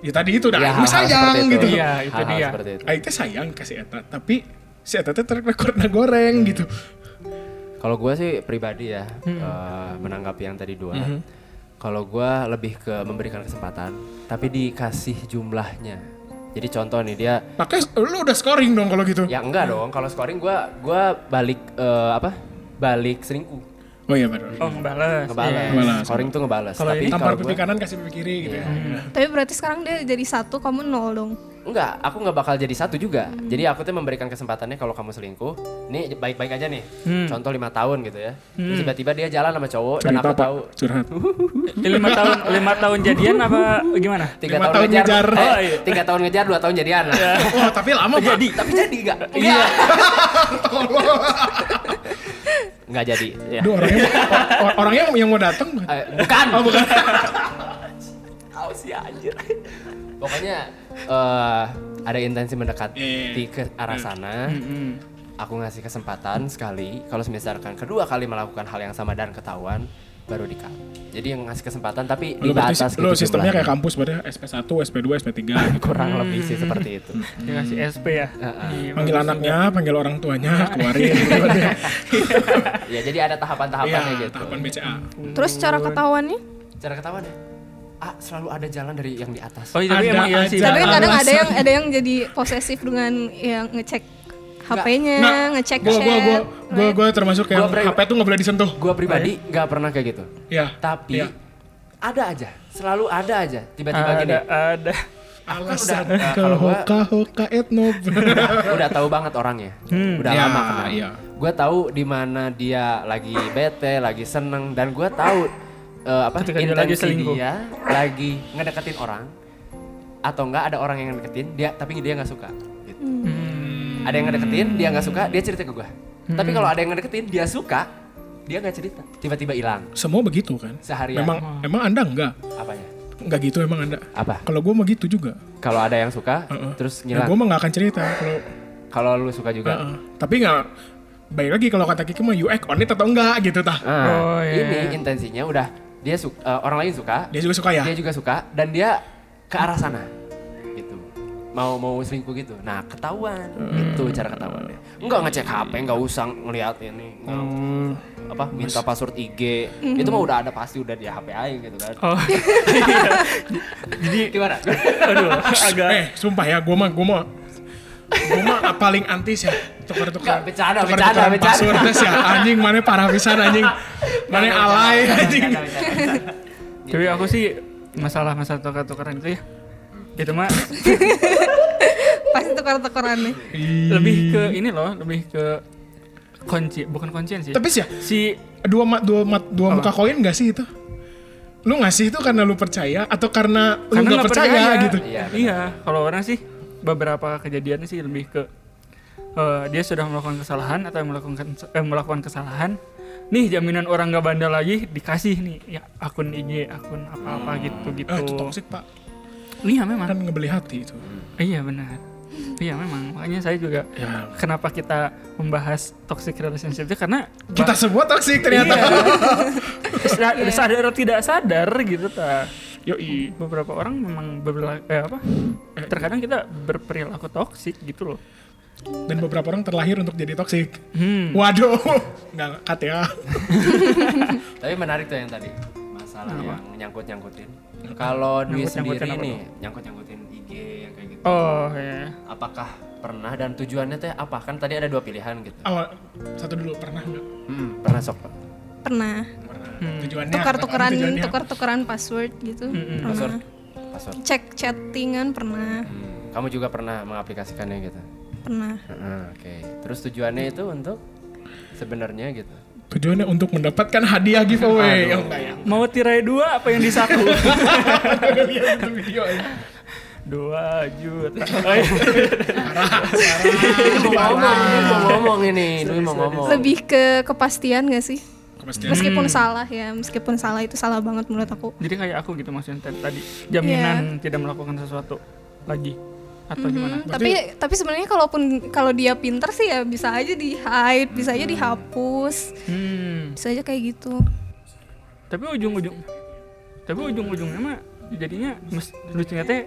[SPEAKER 3] ya tadi itu dah,
[SPEAKER 1] Ya,
[SPEAKER 3] gue
[SPEAKER 1] hal-hal
[SPEAKER 3] sayang
[SPEAKER 1] seperti
[SPEAKER 3] gitu.
[SPEAKER 2] Iya, itu
[SPEAKER 1] Hal-hal
[SPEAKER 2] dia.
[SPEAKER 1] Seperti itu.
[SPEAKER 3] Aing teh sayang ke si Eta, tapi si Eta teh tarik rekorna goreng
[SPEAKER 1] Iya.
[SPEAKER 3] gitu.
[SPEAKER 1] Kalau gue sih pribadi ya eh, menanggapi yang tadi dua. Kalau gue lebih ke memberikan kesempatan tapi dikasih jumlahnya. Jadi contoh nih dia
[SPEAKER 3] Pakai lu udah scoring dong kalau gitu.
[SPEAKER 1] ya enggak dong kalau scoring gua gua balik eh, apa balik selingkuh
[SPEAKER 3] Oh iya benar.
[SPEAKER 2] Oh, ngebales.
[SPEAKER 1] ngebales.
[SPEAKER 2] Iya.
[SPEAKER 3] Ngebales.
[SPEAKER 1] Scoring tuh ngebales.
[SPEAKER 2] Kalau
[SPEAKER 1] Tapi
[SPEAKER 2] ini-
[SPEAKER 1] kalau Hmm.
[SPEAKER 3] Tampar
[SPEAKER 1] gue
[SPEAKER 3] pipi kanan kasih pipi kiri gitu ya.
[SPEAKER 4] tapi berarti sekarang dia jadi satu, kamu nol dong.
[SPEAKER 1] enggak, aku nggak bakal jadi satu juga. Jadi aku tuh memberikan kesempatannya kalau kamu selingkuh, nih baik-baik aja nih. Contoh lima tahun gitu ya. Terus tiba-tiba dia jalan sama cowok dan
[SPEAKER 3] Cerita
[SPEAKER 1] aku
[SPEAKER 3] Pak,
[SPEAKER 1] tahu
[SPEAKER 3] curhat.
[SPEAKER 2] Eh, lima tahun lima tahun jadian apa gimana?
[SPEAKER 1] tiga
[SPEAKER 3] Lima
[SPEAKER 1] tahun,
[SPEAKER 3] tahun
[SPEAKER 1] ngejar,
[SPEAKER 3] ngejar.
[SPEAKER 1] eh,
[SPEAKER 2] Oh, iya.
[SPEAKER 1] tiga tahun ngejar, dua tahun jadian.
[SPEAKER 3] Wah, tapi lama Pak.
[SPEAKER 1] jadi, Oh, tapi jadi enggak. Iya. Enggak jadi. Ya.
[SPEAKER 3] Duh, orangnya or- orangnya yang mau datang.
[SPEAKER 1] Eh, bukan. ya,
[SPEAKER 3] Oh, bukan.
[SPEAKER 1] Pokoknya eh ada intensi mendekati
[SPEAKER 3] Iya, iya, iya.
[SPEAKER 1] ke arah sana.
[SPEAKER 2] Hmm.
[SPEAKER 1] Aku ngasih kesempatan sekali. Kalau misalkan kedua kali melakukan hal yang sama dan ketahuan, baru di cut. Jadi yang ngasih kesempatan tapi
[SPEAKER 3] Lo berarti
[SPEAKER 1] dibatas gitu
[SPEAKER 3] lo sistemnya kayak
[SPEAKER 1] jumlahnya.
[SPEAKER 3] Hmm. kampus berarti ya. SP1, SP2, SP3.
[SPEAKER 1] kurang lebih sih seperti itu.
[SPEAKER 2] dikasih SP ya Iya,
[SPEAKER 3] panggil
[SPEAKER 2] bagus
[SPEAKER 3] anaknya, panggil orang tuanya, keluarin gitu kan ya.
[SPEAKER 1] ya jadi ada tahapan-tahapannya
[SPEAKER 3] Iya,
[SPEAKER 1] gitu.
[SPEAKER 3] tahapan BCA.
[SPEAKER 4] Terus cara ketahuannya?
[SPEAKER 1] Cara ketahuan ya? Ah, selalu ada jalan dari yang di atas.
[SPEAKER 2] juga. oh iya, tapi
[SPEAKER 3] Ada
[SPEAKER 2] emang iya sih
[SPEAKER 3] aja.
[SPEAKER 4] Tapi kan
[SPEAKER 3] Jalan
[SPEAKER 4] kadang ada
[SPEAKER 3] alasan.
[SPEAKER 4] yang ada yang jadi posesif dengan yang ngecek
[SPEAKER 3] Nggak,
[SPEAKER 4] HP-nya, Eh, ngecek
[SPEAKER 3] Nah, Gua
[SPEAKER 4] chat.
[SPEAKER 3] gua gua gua
[SPEAKER 4] right?
[SPEAKER 3] gua termasuk yang
[SPEAKER 1] Gua pre-
[SPEAKER 3] HP tuh nggak boleh disentuh.
[SPEAKER 1] Gua
[SPEAKER 3] Oh,
[SPEAKER 1] pribadi
[SPEAKER 3] iya.
[SPEAKER 1] nggak pernah kayak gitu.
[SPEAKER 3] Ya.
[SPEAKER 1] Tapi
[SPEAKER 3] Iya.
[SPEAKER 1] ada aja, selalu ada aja. Tiba-tiba
[SPEAKER 2] ada
[SPEAKER 1] gini,
[SPEAKER 2] ada
[SPEAKER 1] aku kan udah
[SPEAKER 3] Alasan
[SPEAKER 1] eh,
[SPEAKER 3] ke
[SPEAKER 1] kalau gua
[SPEAKER 3] hoka hoka etnob.
[SPEAKER 1] udah tahu banget orangnya. Udah
[SPEAKER 3] Iya,
[SPEAKER 1] lama kenal.
[SPEAKER 3] iya.
[SPEAKER 1] Gua tahu di mana dia lagi bete, lagi seneng dan gua tahu eh, apa
[SPEAKER 2] Ketika dia
[SPEAKER 1] intensi
[SPEAKER 2] lagi selingkuh.
[SPEAKER 1] dia lagi ngedeketin orang atau enggak ada orang yang ngedeketin dia tapi dia nggak suka. Gitu. Ada yang ngedeketin, dia nggak suka, dia cerita ke gua. Tapi kalau ada yang ngedeketin, dia suka, dia nggak cerita. Tiba-tiba hilang
[SPEAKER 3] Semua begitu kan?
[SPEAKER 1] seharian. Oh.
[SPEAKER 3] Memang emang Anda enggak?
[SPEAKER 1] apanya?
[SPEAKER 3] Enggak gitu emang Anda.
[SPEAKER 1] Apa?
[SPEAKER 3] Kalau gua mah gitu juga.
[SPEAKER 1] Kalau ada yang suka,
[SPEAKER 3] Heeh.
[SPEAKER 1] terus
[SPEAKER 3] Ya,
[SPEAKER 1] ngilang.
[SPEAKER 3] gua mah nggak akan cerita kalau
[SPEAKER 1] Kalau lu suka juga.
[SPEAKER 3] Heeh. Tapi nggak baik lagi kalau kata Kiki mah you act on it atau enggak gitu tah.
[SPEAKER 1] Ah,
[SPEAKER 2] Oh, iya,
[SPEAKER 1] ini
[SPEAKER 2] iya.
[SPEAKER 1] intensinya udah dia su- eh, orang lain suka,
[SPEAKER 3] Dia juga suka ya.
[SPEAKER 1] dia juga suka dan dia ke arah sana gitu mau mau selingkuh gitu nah ketahuan
[SPEAKER 2] Hmm.
[SPEAKER 1] gitu cara ketahuannya enggak ngecek HP enggak usah ngeliat ini nggak
[SPEAKER 2] Hmm.
[SPEAKER 1] apa minta password IG itu mah udah ada pasti udah di HP aja gitu kan
[SPEAKER 2] oh
[SPEAKER 1] jadi gimana
[SPEAKER 2] aduh agak
[SPEAKER 3] Eh, sumpah ya, gua mah gua mah gua mah paling antis ya tukar-tukar
[SPEAKER 1] Nggak, bercanda,
[SPEAKER 3] tukar-tukaran
[SPEAKER 1] bercanda, bercanda.
[SPEAKER 3] password tes ya anjing mana parah pisan anjing mana alay anjing
[SPEAKER 2] tapi
[SPEAKER 3] Iya,
[SPEAKER 2] aku sih masalah masalah tukar tukaran itu ya
[SPEAKER 3] Iya.
[SPEAKER 2] itu mah
[SPEAKER 4] Pasti tukar-tukarannya.
[SPEAKER 2] lebih ke ini loh lebih ke kunci bukan kuncian sih
[SPEAKER 3] tapi sih ya
[SPEAKER 2] si
[SPEAKER 3] dua mat dua mat dua muka koin gak sih itu lu ngasih itu karena lu percaya atau karena, lu
[SPEAKER 2] karena
[SPEAKER 3] nggak percaya, gitu
[SPEAKER 1] Iya,
[SPEAKER 2] Iya,
[SPEAKER 1] benar.
[SPEAKER 2] kalau orang sih beberapa kejadiannya sih lebih ke eh, dia sudah melakukan kesalahan atau melakukan eh, melakukan kesalahan. Nih jaminan orang nggak bandel lagi dikasih nih ya akun IG, akun apa-apa gitu gitu.
[SPEAKER 3] eh itu toksik pak
[SPEAKER 2] Iya
[SPEAKER 1] Nah.
[SPEAKER 2] memang.
[SPEAKER 3] kan ngebeli hati itu
[SPEAKER 2] Iya benar. Iya memang. Makanya saya juga
[SPEAKER 3] ya
[SPEAKER 2] kenapa kita membahas toxic relationship itu karena Iya.
[SPEAKER 3] kita semua toksik
[SPEAKER 1] Iya.
[SPEAKER 3] ternyata
[SPEAKER 2] Sa- sadar atau tidak sadar gitu ta
[SPEAKER 3] yoi
[SPEAKER 2] beberapa orang memang berperilaku eh, apa terkadang kita berperilaku toksik gitu loh
[SPEAKER 3] dan beberapa orang terlahir untuk jadi toksik
[SPEAKER 2] hmm.
[SPEAKER 3] waduh nggak cut ya
[SPEAKER 1] tapi menarik tuh yang tadi masalah yang nyangkut nyangkutin kalau Dwi
[SPEAKER 2] Iya.
[SPEAKER 1] sendiri
[SPEAKER 2] Nyangkut-nyangkutin apa
[SPEAKER 1] nih nyangkut nyangkutin IG yang kayak gitu
[SPEAKER 2] oh ya
[SPEAKER 1] apakah pernah dan tujuannya teh apa kan tadi ada dua pilihan gitu
[SPEAKER 3] awal satu dulu pernah nggak
[SPEAKER 1] Hmm, pernah sok Pak.
[SPEAKER 4] Pernah
[SPEAKER 3] pernah
[SPEAKER 2] Hmm.
[SPEAKER 3] tujuannya apa? Hmm,
[SPEAKER 4] tukar-tukaran
[SPEAKER 3] Tujuannya apa?
[SPEAKER 4] tukar-tukaran password gitu.
[SPEAKER 1] password
[SPEAKER 4] Pernah.
[SPEAKER 1] password
[SPEAKER 4] Cek chattingan pernah,
[SPEAKER 1] Hmm, Kamu juga pernah mengaplikasikannya gitu.
[SPEAKER 4] pernah.
[SPEAKER 1] Heeh, Oke. Terus tujuannya itu untuk sebenarnya gitu.
[SPEAKER 3] tujuannya untuk mendapatkan hadiah giveaway oh enggak ya
[SPEAKER 2] mau tirai dua apa yang di satu
[SPEAKER 3] Gua lihat itu video ini.
[SPEAKER 2] dua juta Oh, iya.
[SPEAKER 1] mau ngomong, ini mau ngomong ini, Dwi mau ngomong.
[SPEAKER 3] Oh.
[SPEAKER 4] Lebih ke kepastian gak sih?
[SPEAKER 3] kepastian
[SPEAKER 4] Meskipun salah ya, meskipun salah itu salah banget menurut aku.
[SPEAKER 2] jadi kayak aku gitu maksudnya tadi- tadi jaminan tidak melakukan sesuatu lagi atau
[SPEAKER 4] Mm-hmm.
[SPEAKER 2] gimana
[SPEAKER 4] Hmm, Tapi tapi sebenarnya kalaupun kalau dia pinter sih ya bisa aja di hide, bisa aja dihapus,
[SPEAKER 2] hmm.
[SPEAKER 4] bisa aja kayak gitu.
[SPEAKER 2] tapi ujung-ujung tapi ujung-ujungnya mah jadinya mes, lucunya teh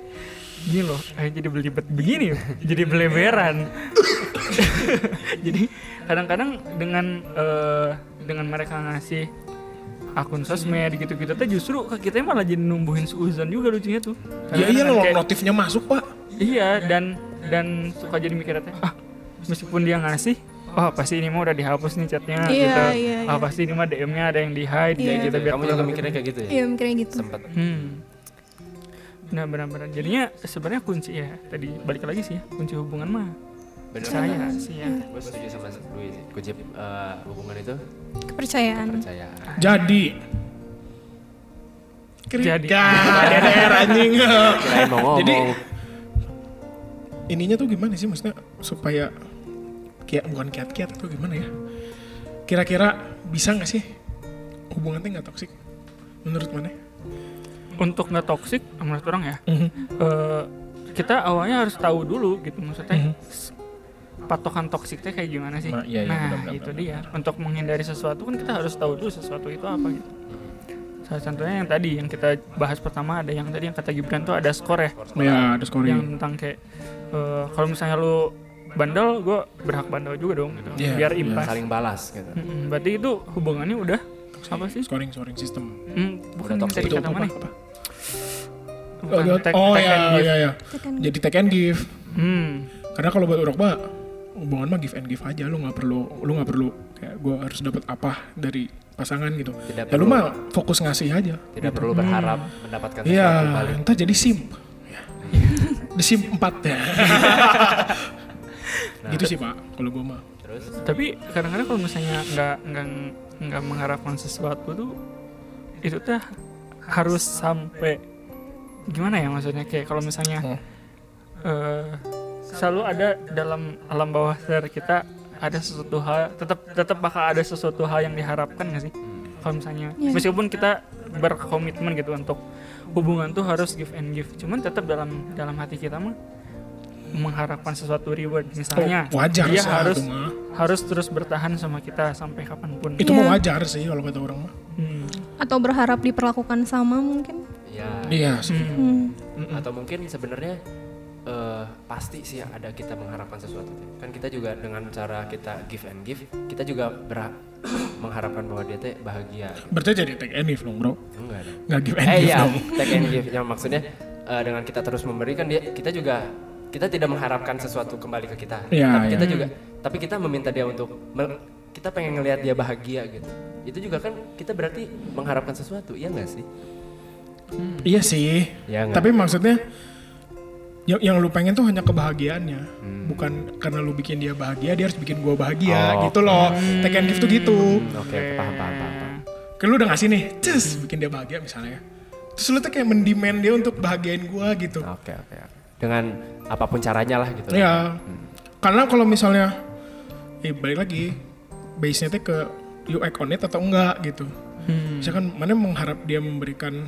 [SPEAKER 2] gini loh kayak jadi belibet begini jadi beleberan jadi kadang-kadang dengan eh, dengan mereka ngasih akun sosmed gitu-gitu teh justru ke kita malah jadi numbuhin suuzon juga lucunya tuh
[SPEAKER 3] ya iya
[SPEAKER 2] Kadang-kadang
[SPEAKER 3] loh
[SPEAKER 2] kayak-
[SPEAKER 3] notifnya masuk pak
[SPEAKER 2] iya dan dan suka jadi mikirnya teh ah meskipun dia ngasih oh pasti ini mah udah dihapus nih chatnya
[SPEAKER 4] Iya,
[SPEAKER 2] gitu
[SPEAKER 4] iya,
[SPEAKER 2] ah pasti ini mah DM-nya ada yang di hide
[SPEAKER 4] Iya.
[SPEAKER 2] gitu biar
[SPEAKER 1] Kamu juga
[SPEAKER 2] kelihatan
[SPEAKER 1] mikirnya kayak gitu ya?
[SPEAKER 4] Iya mikirnya gitu.
[SPEAKER 1] Sempet.
[SPEAKER 2] Hmm. Nah benar-benar jadinya sebenarnya kunci ya tadi balik lagi sih ya kunci hubungan mah
[SPEAKER 1] Bener
[SPEAKER 2] saya sih ya.
[SPEAKER 1] Gue setuju sama Dwi sih. Kunci eh, hubungan itu
[SPEAKER 4] Kepercayaan.
[SPEAKER 1] percayaan.
[SPEAKER 3] jadi
[SPEAKER 2] Jadi.
[SPEAKER 3] Krikah, DDR anjing
[SPEAKER 1] Kirain mau ngomong.
[SPEAKER 3] Jadi, ininya tuh gimana sih maksudnya supaya kayak bukan kiat-kiat atau gimana ya kira-kira bisa nggak sih hubungannya nggak toksik menurut mana
[SPEAKER 2] Untuk nggak toksik menurut orang ya eh, kita awalnya harus tahu dulu gitu maksudnya s- patokan toksiknya kayak gimana sih?
[SPEAKER 3] Mhm. Ma- iya, iya,
[SPEAKER 2] nah
[SPEAKER 3] benar-benar, Mhm.
[SPEAKER 2] itu dia untuk menghindari sesuatu kan kita harus tahu dulu sesuatu itu apa gitu. Salah satunya yang tadi yang kita bahas pertama ada yang tadi yang kata Gibran tuh ada skor ya.
[SPEAKER 3] ya ada scoring
[SPEAKER 2] Yang tentang kayak eh, kalau misalnya lu bandel, gue berhak bandel juga dong gitu.
[SPEAKER 3] Iya,
[SPEAKER 2] Biar
[SPEAKER 3] iya.
[SPEAKER 2] impas.
[SPEAKER 1] saling balas gitu.
[SPEAKER 2] Mm-mm, berarti itu hubungannya udah apa sih?
[SPEAKER 3] scoring scoring system
[SPEAKER 2] Hmm, bukan
[SPEAKER 1] Udah
[SPEAKER 2] tadi
[SPEAKER 1] toxic.
[SPEAKER 2] kata mana?
[SPEAKER 3] apa?
[SPEAKER 2] Bukan tag-
[SPEAKER 3] oh
[SPEAKER 2] tag
[SPEAKER 3] ya
[SPEAKER 2] and give.
[SPEAKER 3] ya ya
[SPEAKER 4] Tekan.
[SPEAKER 3] jadi take and give
[SPEAKER 2] Hmm.
[SPEAKER 3] karena kalau buat Urokba hubungan mah give and give aja lu nggak perlu lu nggak perlu kayak gue harus dapat apa dari pasangan gitu
[SPEAKER 1] Tidak
[SPEAKER 3] ya lu
[SPEAKER 1] perlu.
[SPEAKER 3] mah fokus ngasih aja
[SPEAKER 1] Tidak perlu berharap mendapatkan
[SPEAKER 3] iya
[SPEAKER 1] sesuatu balik.
[SPEAKER 3] entah jadi sim di sim 4 ya gitu sih pak kalau gue mah
[SPEAKER 1] Terus
[SPEAKER 2] Tapi kadang-kadang kalau misalnya nggak nggak nggak mengharapkan sesuatu tuh itu tuh harus sampai gimana ya maksudnya kayak kalau misalnya
[SPEAKER 3] Hmm.
[SPEAKER 2] eh, selalu ada dalam alam bawah sadar kita ada sesuatu hal tetap tetap bakal ada sesuatu hal yang diharapkan nggak sih
[SPEAKER 3] Hmm.
[SPEAKER 2] kalau misalnya
[SPEAKER 4] Iya.
[SPEAKER 2] meskipun kita berkomitmen gitu untuk hubungan tuh harus give and give cuman tetap dalam dalam hati kita mah mengharapkan sesuatu reward misalnya
[SPEAKER 3] Oh, wajar
[SPEAKER 2] dia
[SPEAKER 3] sih
[SPEAKER 2] harus
[SPEAKER 3] itu mah.
[SPEAKER 2] harus terus bertahan sama kita sampai kapanpun
[SPEAKER 3] itu
[SPEAKER 4] Iya.
[SPEAKER 3] mah wajar sih kalau kata orang mah
[SPEAKER 2] Hmm.
[SPEAKER 4] atau berharap diperlakukan sama mungkin
[SPEAKER 1] ya
[SPEAKER 3] iya sih
[SPEAKER 4] Hmm.
[SPEAKER 1] atau mungkin sebenarnya eh, pasti sih ada kita mengharapkan sesuatu. Kan kita juga dengan cara kita give and give, kita juga berhak mengharapkan bahwa dia teh bahagia.
[SPEAKER 3] berarti jadi take and give dong bro
[SPEAKER 1] Enggak ada.
[SPEAKER 3] nggak give and
[SPEAKER 1] Eh
[SPEAKER 3] give
[SPEAKER 1] iya,
[SPEAKER 3] dong
[SPEAKER 1] take and give yang maksudnya eh, dengan kita terus memberi kan dia kita juga kita tidak mengharapkan sesuatu kembali ke kita.
[SPEAKER 3] Iya,
[SPEAKER 1] tapi
[SPEAKER 3] iya.
[SPEAKER 1] kita juga tapi kita meminta dia untuk mel- kita pengen ngelihat dia bahagia gitu. Itu juga kan kita berarti mengharapkan sesuatu, iya enggak sih?
[SPEAKER 3] iya sih
[SPEAKER 1] Iya nggak?
[SPEAKER 3] tapi maksudnya yang, yang lu pengen tuh hanya kebahagiaannya
[SPEAKER 1] Hmm.
[SPEAKER 3] bukan karena lu bikin dia bahagia dia harus bikin gua bahagia
[SPEAKER 1] Oh,
[SPEAKER 3] gitu loh take and give tuh gitu
[SPEAKER 1] Hmm, Oke, oke, paham, paham, paham, paham.
[SPEAKER 3] kan lu udah ngasih nih cus bikin dia bahagia misalnya terus lu tuh kayak mendemand dia untuk bahagiain gua gitu
[SPEAKER 1] Oke, oke. oke. Dengan apapun caranya lah gitu.
[SPEAKER 3] Iya. Karena kalau misalnya eh balik lagi base-nya teh ke you act on it atau enggak gitu. Misalkan mana mengharap dia memberikan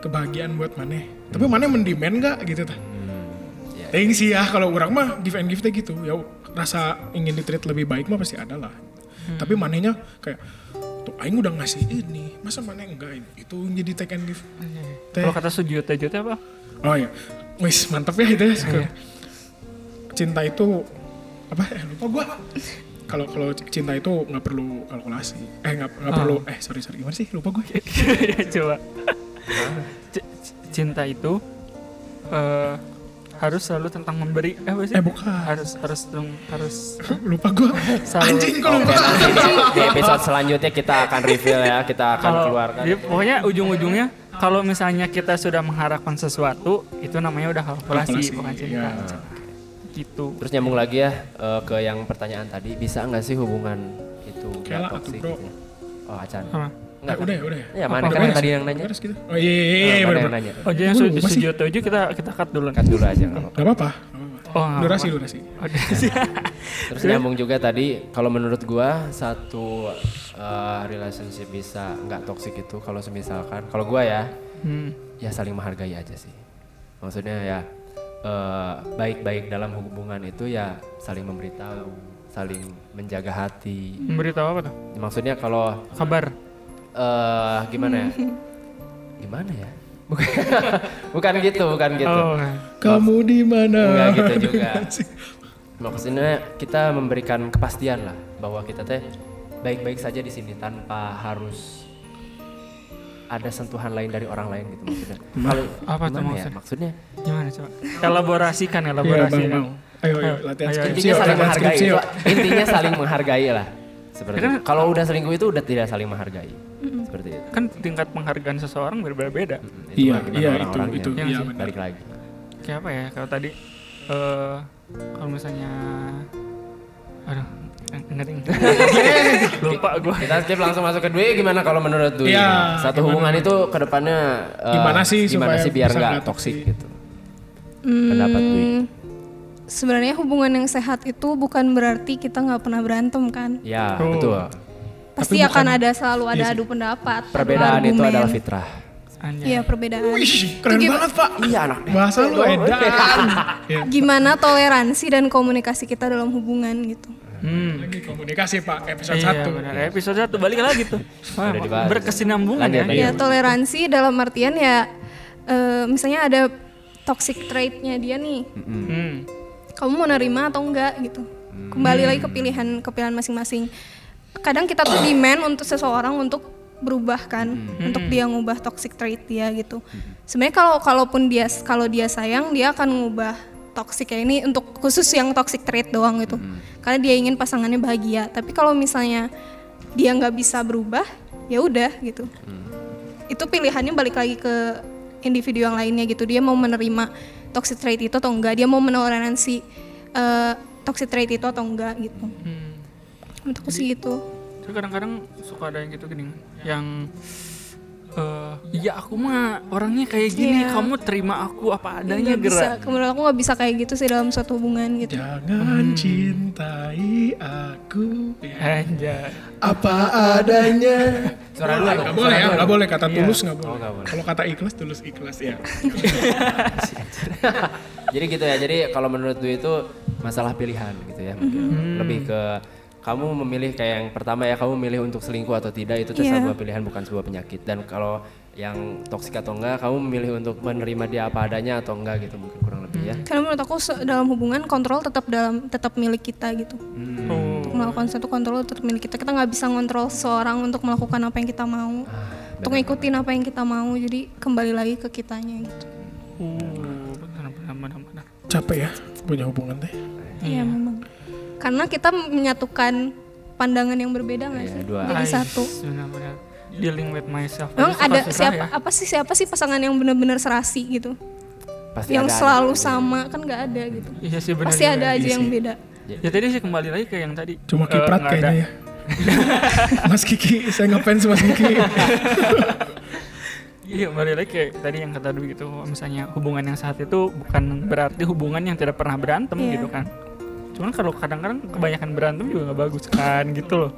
[SPEAKER 3] kebahagiaan buat mana. Tapi mana mendemand enggak gitu tah. Ting sih ya kalau orang mah give and give teh gitu. Ya rasa ingin ditreat lebih baik mah pasti ada lah. Tapi manehnya kayak tuh aing udah ngasih ini, masa mana enggak itu yang jadi take and give. Teh.
[SPEAKER 2] Kalau kata Sujiyo Tejo itu apa?
[SPEAKER 3] Oh iya. Wis, mantep ya itu
[SPEAKER 1] Iya.
[SPEAKER 3] ya. suka. Cinta itu apa? Eh, lupa gua. Kalau kalau cinta itu nggak perlu kalkulasi. Eh nggak nggak perlu.
[SPEAKER 1] Oh.
[SPEAKER 3] Eh sorry sorry gimana sih? Lupa gue.
[SPEAKER 1] Iya.
[SPEAKER 2] Ya, Coba. C- c- Cinta itu eh, harus selalu tentang memberi. Eh, apa sih?
[SPEAKER 3] Eh, bukan.
[SPEAKER 2] Harus harus dong harus
[SPEAKER 3] lupa gue.
[SPEAKER 2] Salah.
[SPEAKER 3] Anjing gue
[SPEAKER 1] Oke,
[SPEAKER 3] lupa.
[SPEAKER 1] nanti di, di episode selanjutnya kita akan reveal ya, kita akan
[SPEAKER 2] kalau
[SPEAKER 1] keluarkan.
[SPEAKER 3] iya.
[SPEAKER 2] ya, pokoknya ujung-ujungnya kalau misalnya kita sudah mengharapkan sesuatu itu namanya udah kalkulasi,
[SPEAKER 3] Kalkulasi,
[SPEAKER 2] bukan cinta.
[SPEAKER 3] iya.
[SPEAKER 2] Gitu.
[SPEAKER 1] Terus nyambung lagi ya eh, ke yang pertanyaan tadi, bisa nggak sih hubungan itu nggak
[SPEAKER 3] Kela atuh,
[SPEAKER 1] toksik
[SPEAKER 3] bro.
[SPEAKER 1] gitu ya? Oh, acan.
[SPEAKER 2] Apa?
[SPEAKER 1] Enggak.
[SPEAKER 3] udah ya, udah ya.
[SPEAKER 1] Ya, mana kan yang tadi yang nanya?
[SPEAKER 3] Harus gitu. Oh iya iya iya,
[SPEAKER 1] Eh,
[SPEAKER 3] iya.
[SPEAKER 1] mana
[SPEAKER 3] bener,
[SPEAKER 1] yang
[SPEAKER 3] bener.
[SPEAKER 1] nanya?
[SPEAKER 2] Oh, jadi yang
[SPEAKER 3] Waduh,
[SPEAKER 2] Su-
[SPEAKER 3] masih-
[SPEAKER 2] Sujiyo Tejo kita kita cut dulu.
[SPEAKER 1] Cut dulu aja nggak apa-apa.
[SPEAKER 3] Gak apa-apa.
[SPEAKER 2] Oh, nggak
[SPEAKER 3] Durasi
[SPEAKER 2] apa-apa.
[SPEAKER 3] durasi.
[SPEAKER 2] Oke.
[SPEAKER 1] Terus nyambung juga tadi, kalau menurut gua satu eh, relationship bisa nggak toksik itu kalau semisalkan, kalau gua ya,
[SPEAKER 2] Hmm.
[SPEAKER 1] ya saling menghargai aja sih maksudnya ya eh, baik-baik dalam hubungan itu ya saling memberitahu saling menjaga hati
[SPEAKER 2] Memberitahu apa tuh?
[SPEAKER 1] maksudnya kalau
[SPEAKER 2] Kabar.
[SPEAKER 1] eh gimana ya gimana ya bukan bukan gitu bukan gitu
[SPEAKER 2] Oh,
[SPEAKER 3] Kamu di mana?
[SPEAKER 1] Enggak gitu juga.
[SPEAKER 3] Sih.
[SPEAKER 1] maksudnya kita memberikan kepastian lah bahwa kita teh baik-baik saja di sini tanpa harus ada sentuhan lain dari orang lain gitu maksudnya kalau
[SPEAKER 2] Apa tuh
[SPEAKER 1] gimana ya?
[SPEAKER 2] maksudnya?
[SPEAKER 1] maksudnya
[SPEAKER 2] gimana coba? Elaborasikan,
[SPEAKER 3] Iya
[SPEAKER 2] elaborasikan.
[SPEAKER 3] bang bang. Ayo ayo latihan
[SPEAKER 2] Ayo, ayo.
[SPEAKER 3] skripsi.
[SPEAKER 1] intinya
[SPEAKER 3] yuk,
[SPEAKER 1] saling
[SPEAKER 3] latihan
[SPEAKER 1] menghargai
[SPEAKER 3] skripsi, yuk.
[SPEAKER 1] Pak. intinya saling menghargai lah seperti
[SPEAKER 2] Karena-
[SPEAKER 1] itu. kalau udah selingkuh itu udah tidak saling menghargai seperti itu
[SPEAKER 2] kan tingkat penghargaan seseorang berbeda-beda.
[SPEAKER 1] Itu
[SPEAKER 3] Iya
[SPEAKER 1] bagaimana
[SPEAKER 3] iya itu
[SPEAKER 1] orang-orangnya.
[SPEAKER 3] itu.
[SPEAKER 2] Iya
[SPEAKER 3] Iya
[SPEAKER 2] sih.
[SPEAKER 3] benar.
[SPEAKER 1] balik lagi
[SPEAKER 2] Kayak apa ya? Kalau tadi eh kalau misalnya aduh, ng- ngeri. Lupa gue.
[SPEAKER 1] kita skip langsung masuk ke Dwi gimana kalau menurut Dwi
[SPEAKER 3] Iya,
[SPEAKER 1] satu
[SPEAKER 3] gimana?
[SPEAKER 1] hubungan itu kedepannya eh,
[SPEAKER 3] Gimana sih
[SPEAKER 1] gimana
[SPEAKER 3] supaya
[SPEAKER 1] sih biar
[SPEAKER 3] bisa
[SPEAKER 1] nggak
[SPEAKER 3] nggak
[SPEAKER 1] toksik
[SPEAKER 3] toksik?
[SPEAKER 1] gitu pendapat Dwi
[SPEAKER 4] Hmm. sebenarnya hubungan yang sehat itu bukan berarti kita nggak pernah berantem kan
[SPEAKER 1] ya
[SPEAKER 2] Oh.
[SPEAKER 1] betul
[SPEAKER 4] pasti akan ada selalu ada adu pendapat adu
[SPEAKER 1] perbedaan itu
[SPEAKER 4] argumen.
[SPEAKER 1] adalah fitrah
[SPEAKER 2] Anjay.
[SPEAKER 4] iya perbedaan
[SPEAKER 3] Wih, keren banget pak.
[SPEAKER 1] iya anak
[SPEAKER 3] Bahasa lu edan. Iya.
[SPEAKER 4] gimana toleransi dan komunikasi kita dalam hubungan gitu
[SPEAKER 2] Hmm.
[SPEAKER 3] Lagi komunikasi Pak episode
[SPEAKER 2] Iya,
[SPEAKER 3] 1.
[SPEAKER 2] benar. Episode 1 balik lagi tuh.
[SPEAKER 1] Udah
[SPEAKER 2] Wah,
[SPEAKER 1] dibahas.
[SPEAKER 2] berkesinambungan
[SPEAKER 1] Lanjut,
[SPEAKER 2] ya.
[SPEAKER 1] lanjut.
[SPEAKER 4] Ya toleransi dalam artian ya eh, misalnya ada toxic trait-nya dia nih.
[SPEAKER 2] Hmm.
[SPEAKER 4] Kamu mau nerima atau enggak gitu. Kembali lagi ke pilihan ke pilihan masing-masing. Kadang kita tuh demand untuk seseorang untuk berubah kan, untuk dia ngubah toxic trait dia gitu. Sebenarnya kalau kalaupun dia kalau dia sayang dia akan ngubah toxic ya ini untuk khusus yang toxic trait doang gitu. Karena dia ingin pasangannya bahagia. Tapi kalau misalnya dia nggak bisa berubah, ya udah gitu itu pilihannya balik lagi ke individu yang lainnya gitu dia mau menerima toxic trait itu atau enggak dia mau menoleransi eh, toxic trait itu atau enggak gitu
[SPEAKER 2] Hmm.
[SPEAKER 4] menurut aku sih gitu
[SPEAKER 2] Terus kadang-kadang suka ada yang gitu gini, yang eh ya aku mah orangnya kayak gini,
[SPEAKER 4] Iya.
[SPEAKER 2] kamu terima aku apa adanya
[SPEAKER 4] Nggak bisa
[SPEAKER 2] gerak.
[SPEAKER 4] menurut aku nggak bisa kayak gitu sih dalam suatu hubungan gitu
[SPEAKER 3] Ya. Jangan cintai aku
[SPEAKER 2] Anjay.
[SPEAKER 3] apa adanya.
[SPEAKER 1] Suara dulu.
[SPEAKER 3] Gak boleh ya, gak boleh kata tulus gak boleh.
[SPEAKER 1] Oh, nggak boleh.
[SPEAKER 3] Kalau kata ikhlas tulus ikhlas ya.
[SPEAKER 1] jadi gitu ya jadi kalau menurut gue itu masalah pilihan gitu ya mungkin.
[SPEAKER 4] Hmm.
[SPEAKER 1] lebih ke kamu memilih kayak yang pertama ya kamu memilih untuk selingkuh atau tidak itu
[SPEAKER 4] Iya.
[SPEAKER 1] adalah sebuah pilihan bukan sebuah penyakit dan kalau yang toksik atau enggak kamu memilih untuk menerima dia apa adanya atau enggak gitu mungkin kurang lebih ya
[SPEAKER 4] karena menurut aku se- dalam hubungan kontrol tetap dalam tetap milik kita gitu
[SPEAKER 1] Hmm.
[SPEAKER 2] Oh. Hmm.
[SPEAKER 4] untuk melakukan satu kontrol tetap milik kita kita nggak bisa ngontrol seorang untuk melakukan apa yang kita mau untuk ngikutin apa yang kita mau jadi kembali lagi ke kitanya gitu
[SPEAKER 2] Uh, benar benar benar benar.
[SPEAKER 3] Capek ya punya hubungan teh.
[SPEAKER 4] Iya memang. Karena kita menyatukan pandangan yang berbeda nggak
[SPEAKER 1] Iya,
[SPEAKER 4] sih?
[SPEAKER 1] dua
[SPEAKER 4] Jadi
[SPEAKER 2] Ais,
[SPEAKER 4] satu.
[SPEAKER 2] Benar benar. Dealing with myself.
[SPEAKER 4] Emang
[SPEAKER 2] Aduh,
[SPEAKER 4] ada
[SPEAKER 2] suka-suka
[SPEAKER 4] siapa
[SPEAKER 2] ya.
[SPEAKER 4] apa sih siapa sih pasangan yang benar-benar serasi gitu?
[SPEAKER 1] pasti
[SPEAKER 4] yang
[SPEAKER 1] ada-
[SPEAKER 4] selalu sama kan nggak ada gitu.
[SPEAKER 2] Iya sih benar.
[SPEAKER 4] Pasti
[SPEAKER 2] juga.
[SPEAKER 4] ada aja yang beda.
[SPEAKER 2] Ya tadi sih kembali lagi ke yang tadi.
[SPEAKER 3] Cuma
[SPEAKER 2] Eh,
[SPEAKER 3] kiprat
[SPEAKER 2] nggak ada.
[SPEAKER 3] kayaknya ya. Mas Kiki, saya ngefans Mas Kiki.
[SPEAKER 2] Iya kembali lagi kayak tadi yang kata Dwi gitu. Misalnya hubungan yang saat itu bukan berarti hubungan yang tidak pernah berantem
[SPEAKER 4] Iya.
[SPEAKER 2] gitu kan. Cuman kalau kadang-kadang kebanyakan berantem juga nggak bagus kan gitu loh.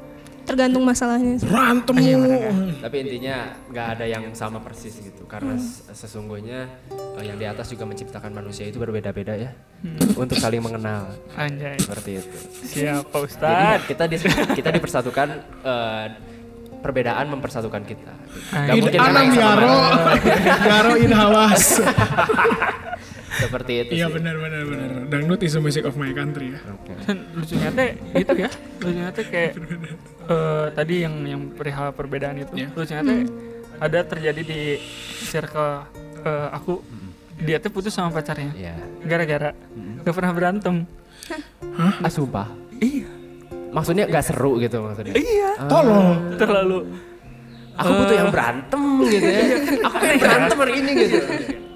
[SPEAKER 4] Tergantung masalahnya. sih.
[SPEAKER 3] Berantem.
[SPEAKER 1] Iya, tapi intinya nggak ada yang sama persis gitu karena
[SPEAKER 4] Hmm.
[SPEAKER 1] s- sesungguhnya eh, yang di atas juga menciptakan manusia itu berbeda-beda ya
[SPEAKER 4] Hmm.
[SPEAKER 1] untuk saling mengenal
[SPEAKER 2] Anjay.
[SPEAKER 1] seperti itu
[SPEAKER 2] Siapa
[SPEAKER 1] Jadi
[SPEAKER 2] Ustaz?
[SPEAKER 1] kita di, kita dipersatukan eh, perbedaan mempersatukan kita. Gak
[SPEAKER 3] In
[SPEAKER 1] mungkin sama
[SPEAKER 3] Anam
[SPEAKER 1] yang sama.
[SPEAKER 3] Yaro, Yaro in Hawas.
[SPEAKER 1] Seperti itu.
[SPEAKER 3] Iya
[SPEAKER 1] sih.
[SPEAKER 3] benar benar benar. Dangdut is the music of my country ya.
[SPEAKER 1] Oke.
[SPEAKER 2] Dan lucunya teh itu ya. Lucunya teh kayak eh, tadi yang yang perihal perbedaan itu.
[SPEAKER 3] Iya.
[SPEAKER 2] Lucunya teh ada terjadi di circle eh, aku. Dia tuh putus sama pacarnya.
[SPEAKER 1] Iya.
[SPEAKER 2] Gara-gara gak pernah berantem.
[SPEAKER 1] Ah sumpah.
[SPEAKER 2] Iya.
[SPEAKER 1] Maksudnya gak seru gitu maksudnya.
[SPEAKER 3] Tolong.
[SPEAKER 2] Terlalu
[SPEAKER 1] Aku butuh yang berantem gitu ya. Aku yang berantem hari ini gitu.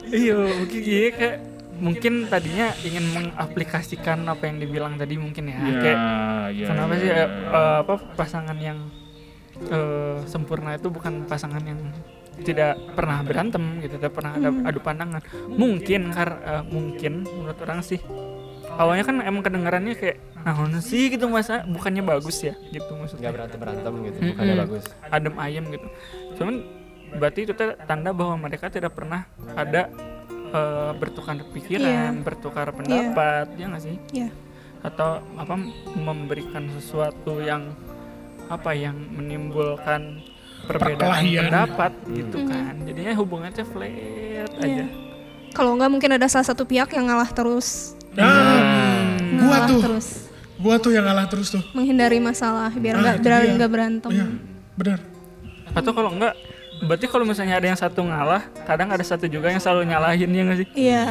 [SPEAKER 2] Iya, mungkin iya kayak mungkin tadinya ingin mengaplikasikan apa yang dibilang tadi mungkin ya. Kayak
[SPEAKER 1] Ah, iya.
[SPEAKER 2] kenapa sih eh, eh, apa pasangan yang eh, sempurna itu bukan pasangan yang tidak pernah berantem gitu, tidak pernah ada
[SPEAKER 4] Hmm.
[SPEAKER 2] adu pandangan. Mungkin kar eh, mungkin menurut orang sih awalnya kan emang kedengarannya kayak nah sih gitu masa bukannya bagus ya gitu maksudnya
[SPEAKER 1] Gak berantem berantem gitu.
[SPEAKER 2] Mm-mm.
[SPEAKER 1] Bukannya bagus.
[SPEAKER 2] adem ayem gitu cuman berarti itu teh tanda bahwa mereka tidak pernah ada eh, bertukar pikiran
[SPEAKER 4] Iya.
[SPEAKER 2] bertukar pendapat ya nggak sih
[SPEAKER 4] Ya.
[SPEAKER 2] atau apa memberikan sesuatu yang apa yang menimbulkan perbedaan
[SPEAKER 3] Perkelahian.
[SPEAKER 2] pendapat gitu kan jadinya hubungannya flat aja
[SPEAKER 4] Iya. Kalau nggak mungkin ada salah satu pihak yang ngalah terus.
[SPEAKER 3] Nah, gua
[SPEAKER 4] Ngalah
[SPEAKER 3] tuh,
[SPEAKER 4] terus.
[SPEAKER 3] gua tuh yang ngalah terus tuh.
[SPEAKER 4] Menghindari masalah biar
[SPEAKER 3] Ah,
[SPEAKER 4] nggak
[SPEAKER 3] itu
[SPEAKER 4] biar
[SPEAKER 3] dia.
[SPEAKER 4] nggak berantem.
[SPEAKER 3] Iya, benar.
[SPEAKER 2] atau kalau enggak berarti kalau misalnya ada yang satu ngalah kadang ada satu juga yang selalu nyalahin ya nggak sih
[SPEAKER 4] Iya.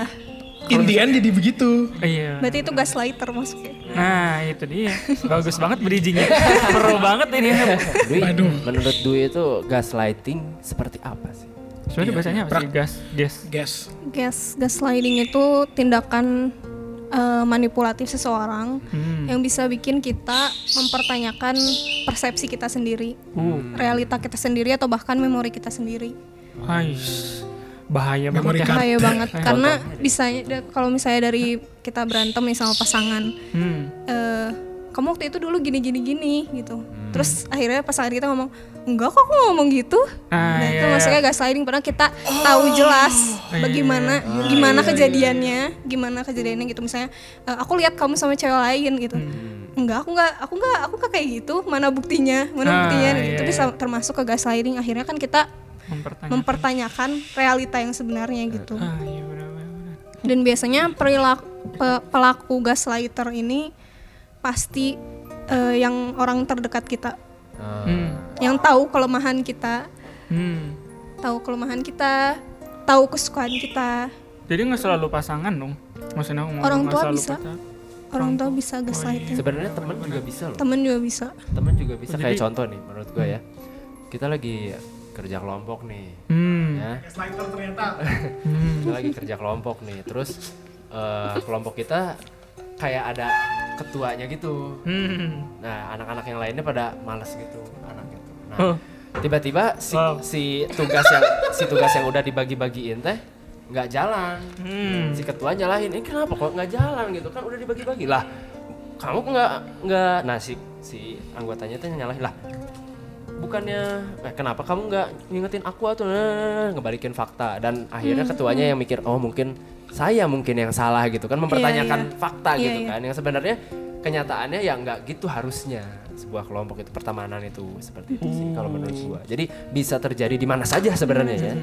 [SPEAKER 3] In the end jadi begitu.
[SPEAKER 2] iya
[SPEAKER 4] Berarti itu gaslighter masuknya.
[SPEAKER 2] Nah itu dia Bagus banget bridgingnya Pro banget ini
[SPEAKER 1] Dwi,
[SPEAKER 3] Aduh.
[SPEAKER 1] menurut Dwi itu gaslighting seperti apa sih?
[SPEAKER 3] Iya.
[SPEAKER 2] Sebenernya bahasanya apa sih? Gas Gas
[SPEAKER 3] Guys,
[SPEAKER 4] Gas gaslighting itu tindakan eh, manipulatif seseorang
[SPEAKER 2] hmm.
[SPEAKER 4] yang bisa bikin kita mempertanyakan persepsi kita sendiri,
[SPEAKER 2] Uh
[SPEAKER 4] realita kita sendiri atau bahkan memori kita sendiri.
[SPEAKER 2] Ais. Bahaya
[SPEAKER 3] Memori
[SPEAKER 2] banget ya
[SPEAKER 3] card.
[SPEAKER 4] Bahaya banget
[SPEAKER 2] Kayak
[SPEAKER 4] karena bisa da- kalau misalnya dari kita berantem nih sama pasangan,
[SPEAKER 2] hmm.
[SPEAKER 4] eh kamu waktu itu dulu gini gini gini gitu.
[SPEAKER 2] Hmm.
[SPEAKER 4] Terus akhirnya pasangan kita ngomong, "Enggak kok aku nggak ngomong gitu."
[SPEAKER 2] Ah,
[SPEAKER 4] nah, itu
[SPEAKER 2] iya. Oh.
[SPEAKER 4] maksudnya gaslighting padahal kita tahu jelas bagaimana
[SPEAKER 2] iya, Ah,
[SPEAKER 4] gimana kejadiannya, gimana kejadiannya gitu misalnya eh, aku lihat kamu sama cewek lain gitu. enggak aku nggak aku nggak aku nggak kayak gitu mana buktinya mana
[SPEAKER 2] Hmm. Ah,
[SPEAKER 4] buktinya
[SPEAKER 2] iya,
[SPEAKER 4] tapi
[SPEAKER 2] iya.
[SPEAKER 4] sam- termasuk ke gaslighting akhirnya kan kita
[SPEAKER 2] mempertanyakan
[SPEAKER 4] mempertanyakan realita yang sebenarnya gitu
[SPEAKER 2] ah iya benar benar, benar.
[SPEAKER 4] dan biasanya perilaku pe- pelaku gaslighter ini pasti eh, yang orang terdekat kita
[SPEAKER 2] hmm
[SPEAKER 4] yang tahu kelemahan kita
[SPEAKER 2] hmm
[SPEAKER 4] tahu kelemahan kita tahu kesukaan kita
[SPEAKER 2] jadi nggak selalu pasangan dong maksudnya aku ngomong
[SPEAKER 4] Orang
[SPEAKER 2] nggak
[SPEAKER 4] tua
[SPEAKER 2] selalu
[SPEAKER 4] bisa.
[SPEAKER 2] pacar.
[SPEAKER 4] orang tua oh, iya. bisa gaslighting
[SPEAKER 1] Sebenarnya teman juga bisa loh.
[SPEAKER 4] temen juga bisa
[SPEAKER 1] Teman juga bisa kayak
[SPEAKER 2] Jadi-
[SPEAKER 1] contoh nih menurut gue ya. Kita lagi kerja kelompok nih.
[SPEAKER 2] hmm
[SPEAKER 1] Ya.
[SPEAKER 3] Gaslighter ternyata.
[SPEAKER 2] hmm
[SPEAKER 1] Kita lagi kerja kelompok nih. Terus eh, kelompok kita kayak ada ketuanya gitu.
[SPEAKER 2] hmm
[SPEAKER 1] Nah, anak-anak yang lainnya pada males gitu, anak gitu. Nah,
[SPEAKER 2] oh
[SPEAKER 1] tiba-tiba si,
[SPEAKER 2] Wow.
[SPEAKER 1] si tugas yang si tugas yang udah dibagi-bagiin teh nggak jalan.
[SPEAKER 2] hmm
[SPEAKER 1] Si ketua nyalahin, ini kenapa kok nggak jalan gitu kan udah dibagi-bagi lah. Kamu kok nggak nggak nah si, si anggotanya teh nyalahin lah. Bukannya eh, kenapa kamu nggak ngingetin aku atau nah, ngebalikin fakta dan akhirnya ketuanya yang mikir oh mungkin saya mungkin yang salah gitu kan mempertanyakan
[SPEAKER 4] iya.
[SPEAKER 1] fakta
[SPEAKER 4] Iya,
[SPEAKER 1] gitu
[SPEAKER 4] iya.
[SPEAKER 1] kan yang sebenarnya kenyataannya ya nggak gitu harusnya sebuah kelompok itu pertemanan itu seperti itu sih kalau menurut
[SPEAKER 4] Hmm.
[SPEAKER 1] gua jadi bisa terjadi di mana saja sebenarnya ya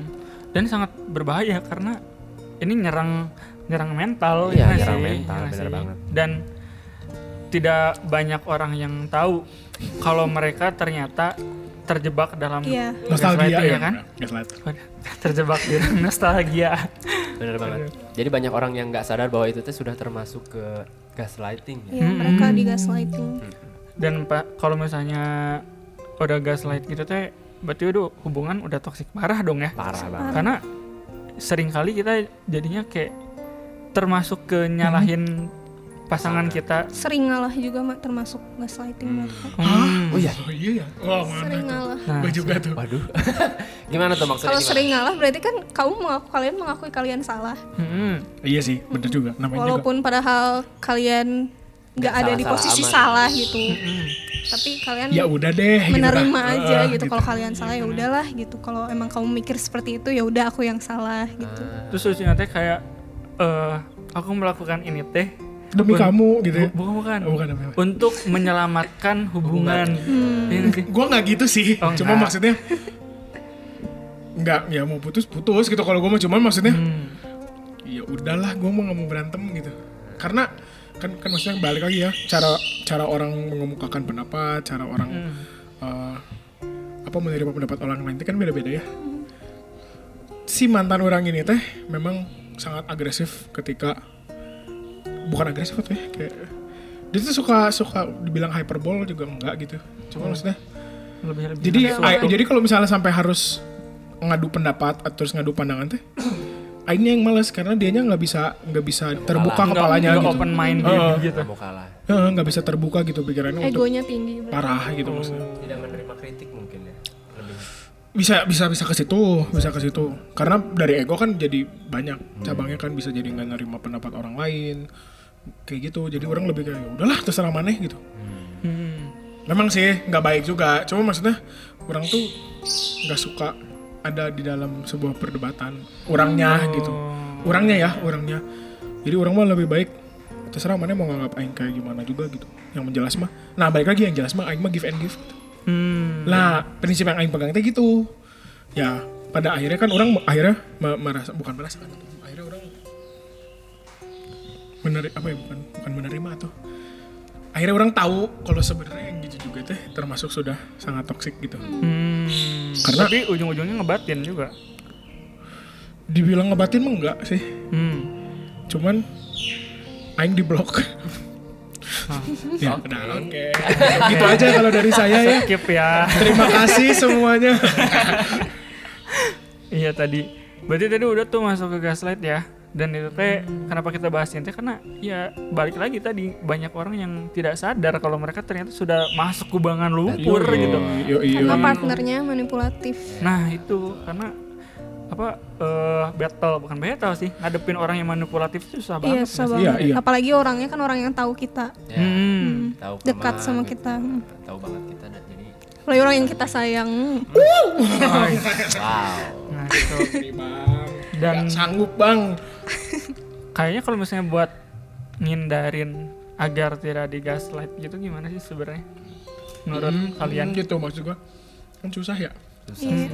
[SPEAKER 2] dan sangat berbahaya karena ini nyerang nyerang mental
[SPEAKER 1] Iya,
[SPEAKER 2] nggak
[SPEAKER 1] nyerang
[SPEAKER 2] sih?
[SPEAKER 1] mental,
[SPEAKER 2] Iya nggak
[SPEAKER 1] bener
[SPEAKER 2] sih?
[SPEAKER 1] banget.
[SPEAKER 2] dan tidak banyak orang yang tahu kalau mereka ternyata terjebak dalam
[SPEAKER 4] Iya.
[SPEAKER 3] Nostalgia
[SPEAKER 2] gaslighting,
[SPEAKER 3] ya,
[SPEAKER 2] ya kan
[SPEAKER 3] Gaslighter.
[SPEAKER 2] Waduh, terjebak di dalam nostalgia
[SPEAKER 1] bener banget jadi banyak orang yang nggak sadar bahwa itu tuh sudah termasuk ke gaslighting ya
[SPEAKER 4] ya mereka di gaslighting
[SPEAKER 2] dan pak kalau misalnya udah gaslight gitu teh berarti udah hubungan udah toksik parah dong ya
[SPEAKER 1] parah banget
[SPEAKER 2] karena seringkali kita jadinya kayak termasuk ke
[SPEAKER 3] Hmm.
[SPEAKER 2] nyalahin pasangan kita
[SPEAKER 4] sering ngalah juga Ma, termasuk gaslighting mereka
[SPEAKER 2] Hmm.
[SPEAKER 1] oh iya
[SPEAKER 3] Oh iya ya. Wah, mana
[SPEAKER 4] sering
[SPEAKER 3] tuh.
[SPEAKER 4] ngalah
[SPEAKER 2] Nah,
[SPEAKER 3] Gue juga tuh.
[SPEAKER 1] waduh gimana tuh maksudnya
[SPEAKER 4] kalau
[SPEAKER 1] gimana?
[SPEAKER 4] sering ngalah berarti kan kamu mengaku kalian mengakui kalian salah
[SPEAKER 2] Hmm.
[SPEAKER 3] Iya sih, bener juga. Namanya juga.
[SPEAKER 4] walaupun padahal kalian nggak ada di
[SPEAKER 1] salah-salah
[SPEAKER 4] posisi
[SPEAKER 1] amat.
[SPEAKER 4] salah gitu tapi kalian
[SPEAKER 3] Ya udah deh. gitu
[SPEAKER 4] menerima
[SPEAKER 3] dah.
[SPEAKER 4] aja
[SPEAKER 3] Ah,
[SPEAKER 4] gitu, kalau kalian salah ya udahlah gitu kalau emang kamu mikir seperti itu ya udah aku yang salah gitu
[SPEAKER 3] Nah,
[SPEAKER 2] Terus lucunya teh kayak eh aku melakukan ini teh
[SPEAKER 3] Demi
[SPEAKER 2] Un-
[SPEAKER 3] kamu gitu. ya.
[SPEAKER 2] Bu- bukan bukan.
[SPEAKER 3] Oh, bukan, bukan.
[SPEAKER 2] Untuk menyelamatkan hubungan. Iya nggak sih?
[SPEAKER 3] Gue nggak gitu sih.
[SPEAKER 2] Oh,
[SPEAKER 3] Cuma
[SPEAKER 2] nggak.
[SPEAKER 3] maksudnya nggak ya mau putus putus gitu kalau gue mah cuman maksudnya
[SPEAKER 2] Hmm.
[SPEAKER 3] ya udahlah gue mau nggak mau berantem gitu karena kan kan maksudnya balik lagi ya cara cara orang mengemukakan pendapat cara orang eh, apa menerima pendapat orang lain itu kan beda beda ya si mantan orang ini teh memang sangat agresif ketika bukan agresif tuh ya kayak dia tuh suka suka dibilang hyperbol juga enggak gitu cuma maksudnya
[SPEAKER 2] Lebih lebih.
[SPEAKER 3] jadi
[SPEAKER 2] lebih
[SPEAKER 3] ai-
[SPEAKER 2] suatu.
[SPEAKER 3] jadi kalau misalnya sampai harus ngadu pendapat atau terus ngadu pandangan teh Aingnya yang males karena dianya nggak bisa nggak bisa terbuka
[SPEAKER 2] Nggak-
[SPEAKER 3] kepalanya
[SPEAKER 2] nggak
[SPEAKER 3] gitu
[SPEAKER 2] open mind
[SPEAKER 3] Heeh.
[SPEAKER 2] gitu, gitu.
[SPEAKER 1] Nggak mau kalah
[SPEAKER 3] Heeh, nggak bisa terbuka gitu pikirannya untuk
[SPEAKER 4] egonya tinggi berarti.
[SPEAKER 3] parah gitu maksudnya
[SPEAKER 1] tidak menerima kritik mungkin ya lebih
[SPEAKER 3] bisa bisa bisa ke situ bisa ke situ karena dari ego kan jadi
[SPEAKER 2] Hmm.
[SPEAKER 3] banyak cabangnya kan bisa jadi nggak nerima pendapat orang lain kayak gitu jadi orang lebih kayak "Ya udahlah terserah maneh gitu
[SPEAKER 2] Hmm.
[SPEAKER 3] Memang sih nggak baik juga. Cuma maksudnya orang tuh nggak suka ada di dalam sebuah perdebatan. Orangnya gitu. Orangnya ya, orangnya. Jadi orang mah lebih baik terserah mana mau nganggap aing kayak gimana juga gitu. Yang menjelas mah. Nah, balik lagi yang jelas mah aing mah give and give.
[SPEAKER 2] Hmm.
[SPEAKER 3] Nah, prinsip yang aing pegang teh gitu. Ya, pada akhirnya kan orang me- akhirnya me- merasa bukan merasa kan. Akhirnya orang menerima apa ya bukan bukan menerima tuh. Akhirnya orang tahu kalau sebenarnya yang gitu juga teh termasuk sudah sangat toksik gitu.
[SPEAKER 2] Hmm.
[SPEAKER 3] Karena-
[SPEAKER 2] Tapi ujung-ujungnya ngebatin juga.
[SPEAKER 3] Dibilang ngebatin mah enggak sih.
[SPEAKER 2] Hmm.
[SPEAKER 3] Cuman aing di blok.
[SPEAKER 2] Ah.
[SPEAKER 3] ya, udah, oke. gitu aja kalau dari saya ya.
[SPEAKER 2] Skip ya.
[SPEAKER 3] Terima kasih semuanya.
[SPEAKER 2] Iya tadi. Berarti tadi udah tuh masuk ke gaslight ya. Dan itu teh kenapa kita bahasnya teh karena ya balik lagi tadi banyak orang yang tidak sadar kalau mereka ternyata sudah masuk kubangan lumpur gitu.
[SPEAKER 3] Yo, yo,
[SPEAKER 4] karena partnernya manipulatif
[SPEAKER 2] Nah, itu karena apa eh battle bukan battle sih ngadepin orang yang manipulatif itu susah
[SPEAKER 4] iya
[SPEAKER 2] banget.
[SPEAKER 4] susah
[SPEAKER 3] Iya,
[SPEAKER 4] banget
[SPEAKER 3] iya.
[SPEAKER 4] apalagi orangnya kan orang yang tahu kita
[SPEAKER 1] ya,
[SPEAKER 2] Hmm.
[SPEAKER 1] tahu
[SPEAKER 4] dekat
[SPEAKER 1] kelemahan
[SPEAKER 4] sama
[SPEAKER 1] gitu.
[SPEAKER 4] kita Hmm.
[SPEAKER 1] tahu banget kita dan jadi
[SPEAKER 4] apalagi orang yang kita sayang
[SPEAKER 2] Ay.
[SPEAKER 1] wow
[SPEAKER 2] Nah, itu.
[SPEAKER 3] Dan
[SPEAKER 2] Dan
[SPEAKER 3] sanggup, Bang.
[SPEAKER 2] kayaknya kalau misalnya buat ngindarin agar tidak di gaslight gitu gimana sih sebenarnya menurut
[SPEAKER 3] Hmm,
[SPEAKER 2] kalian
[SPEAKER 3] hmm, gitu maksud gua kan susah ya
[SPEAKER 4] Iya.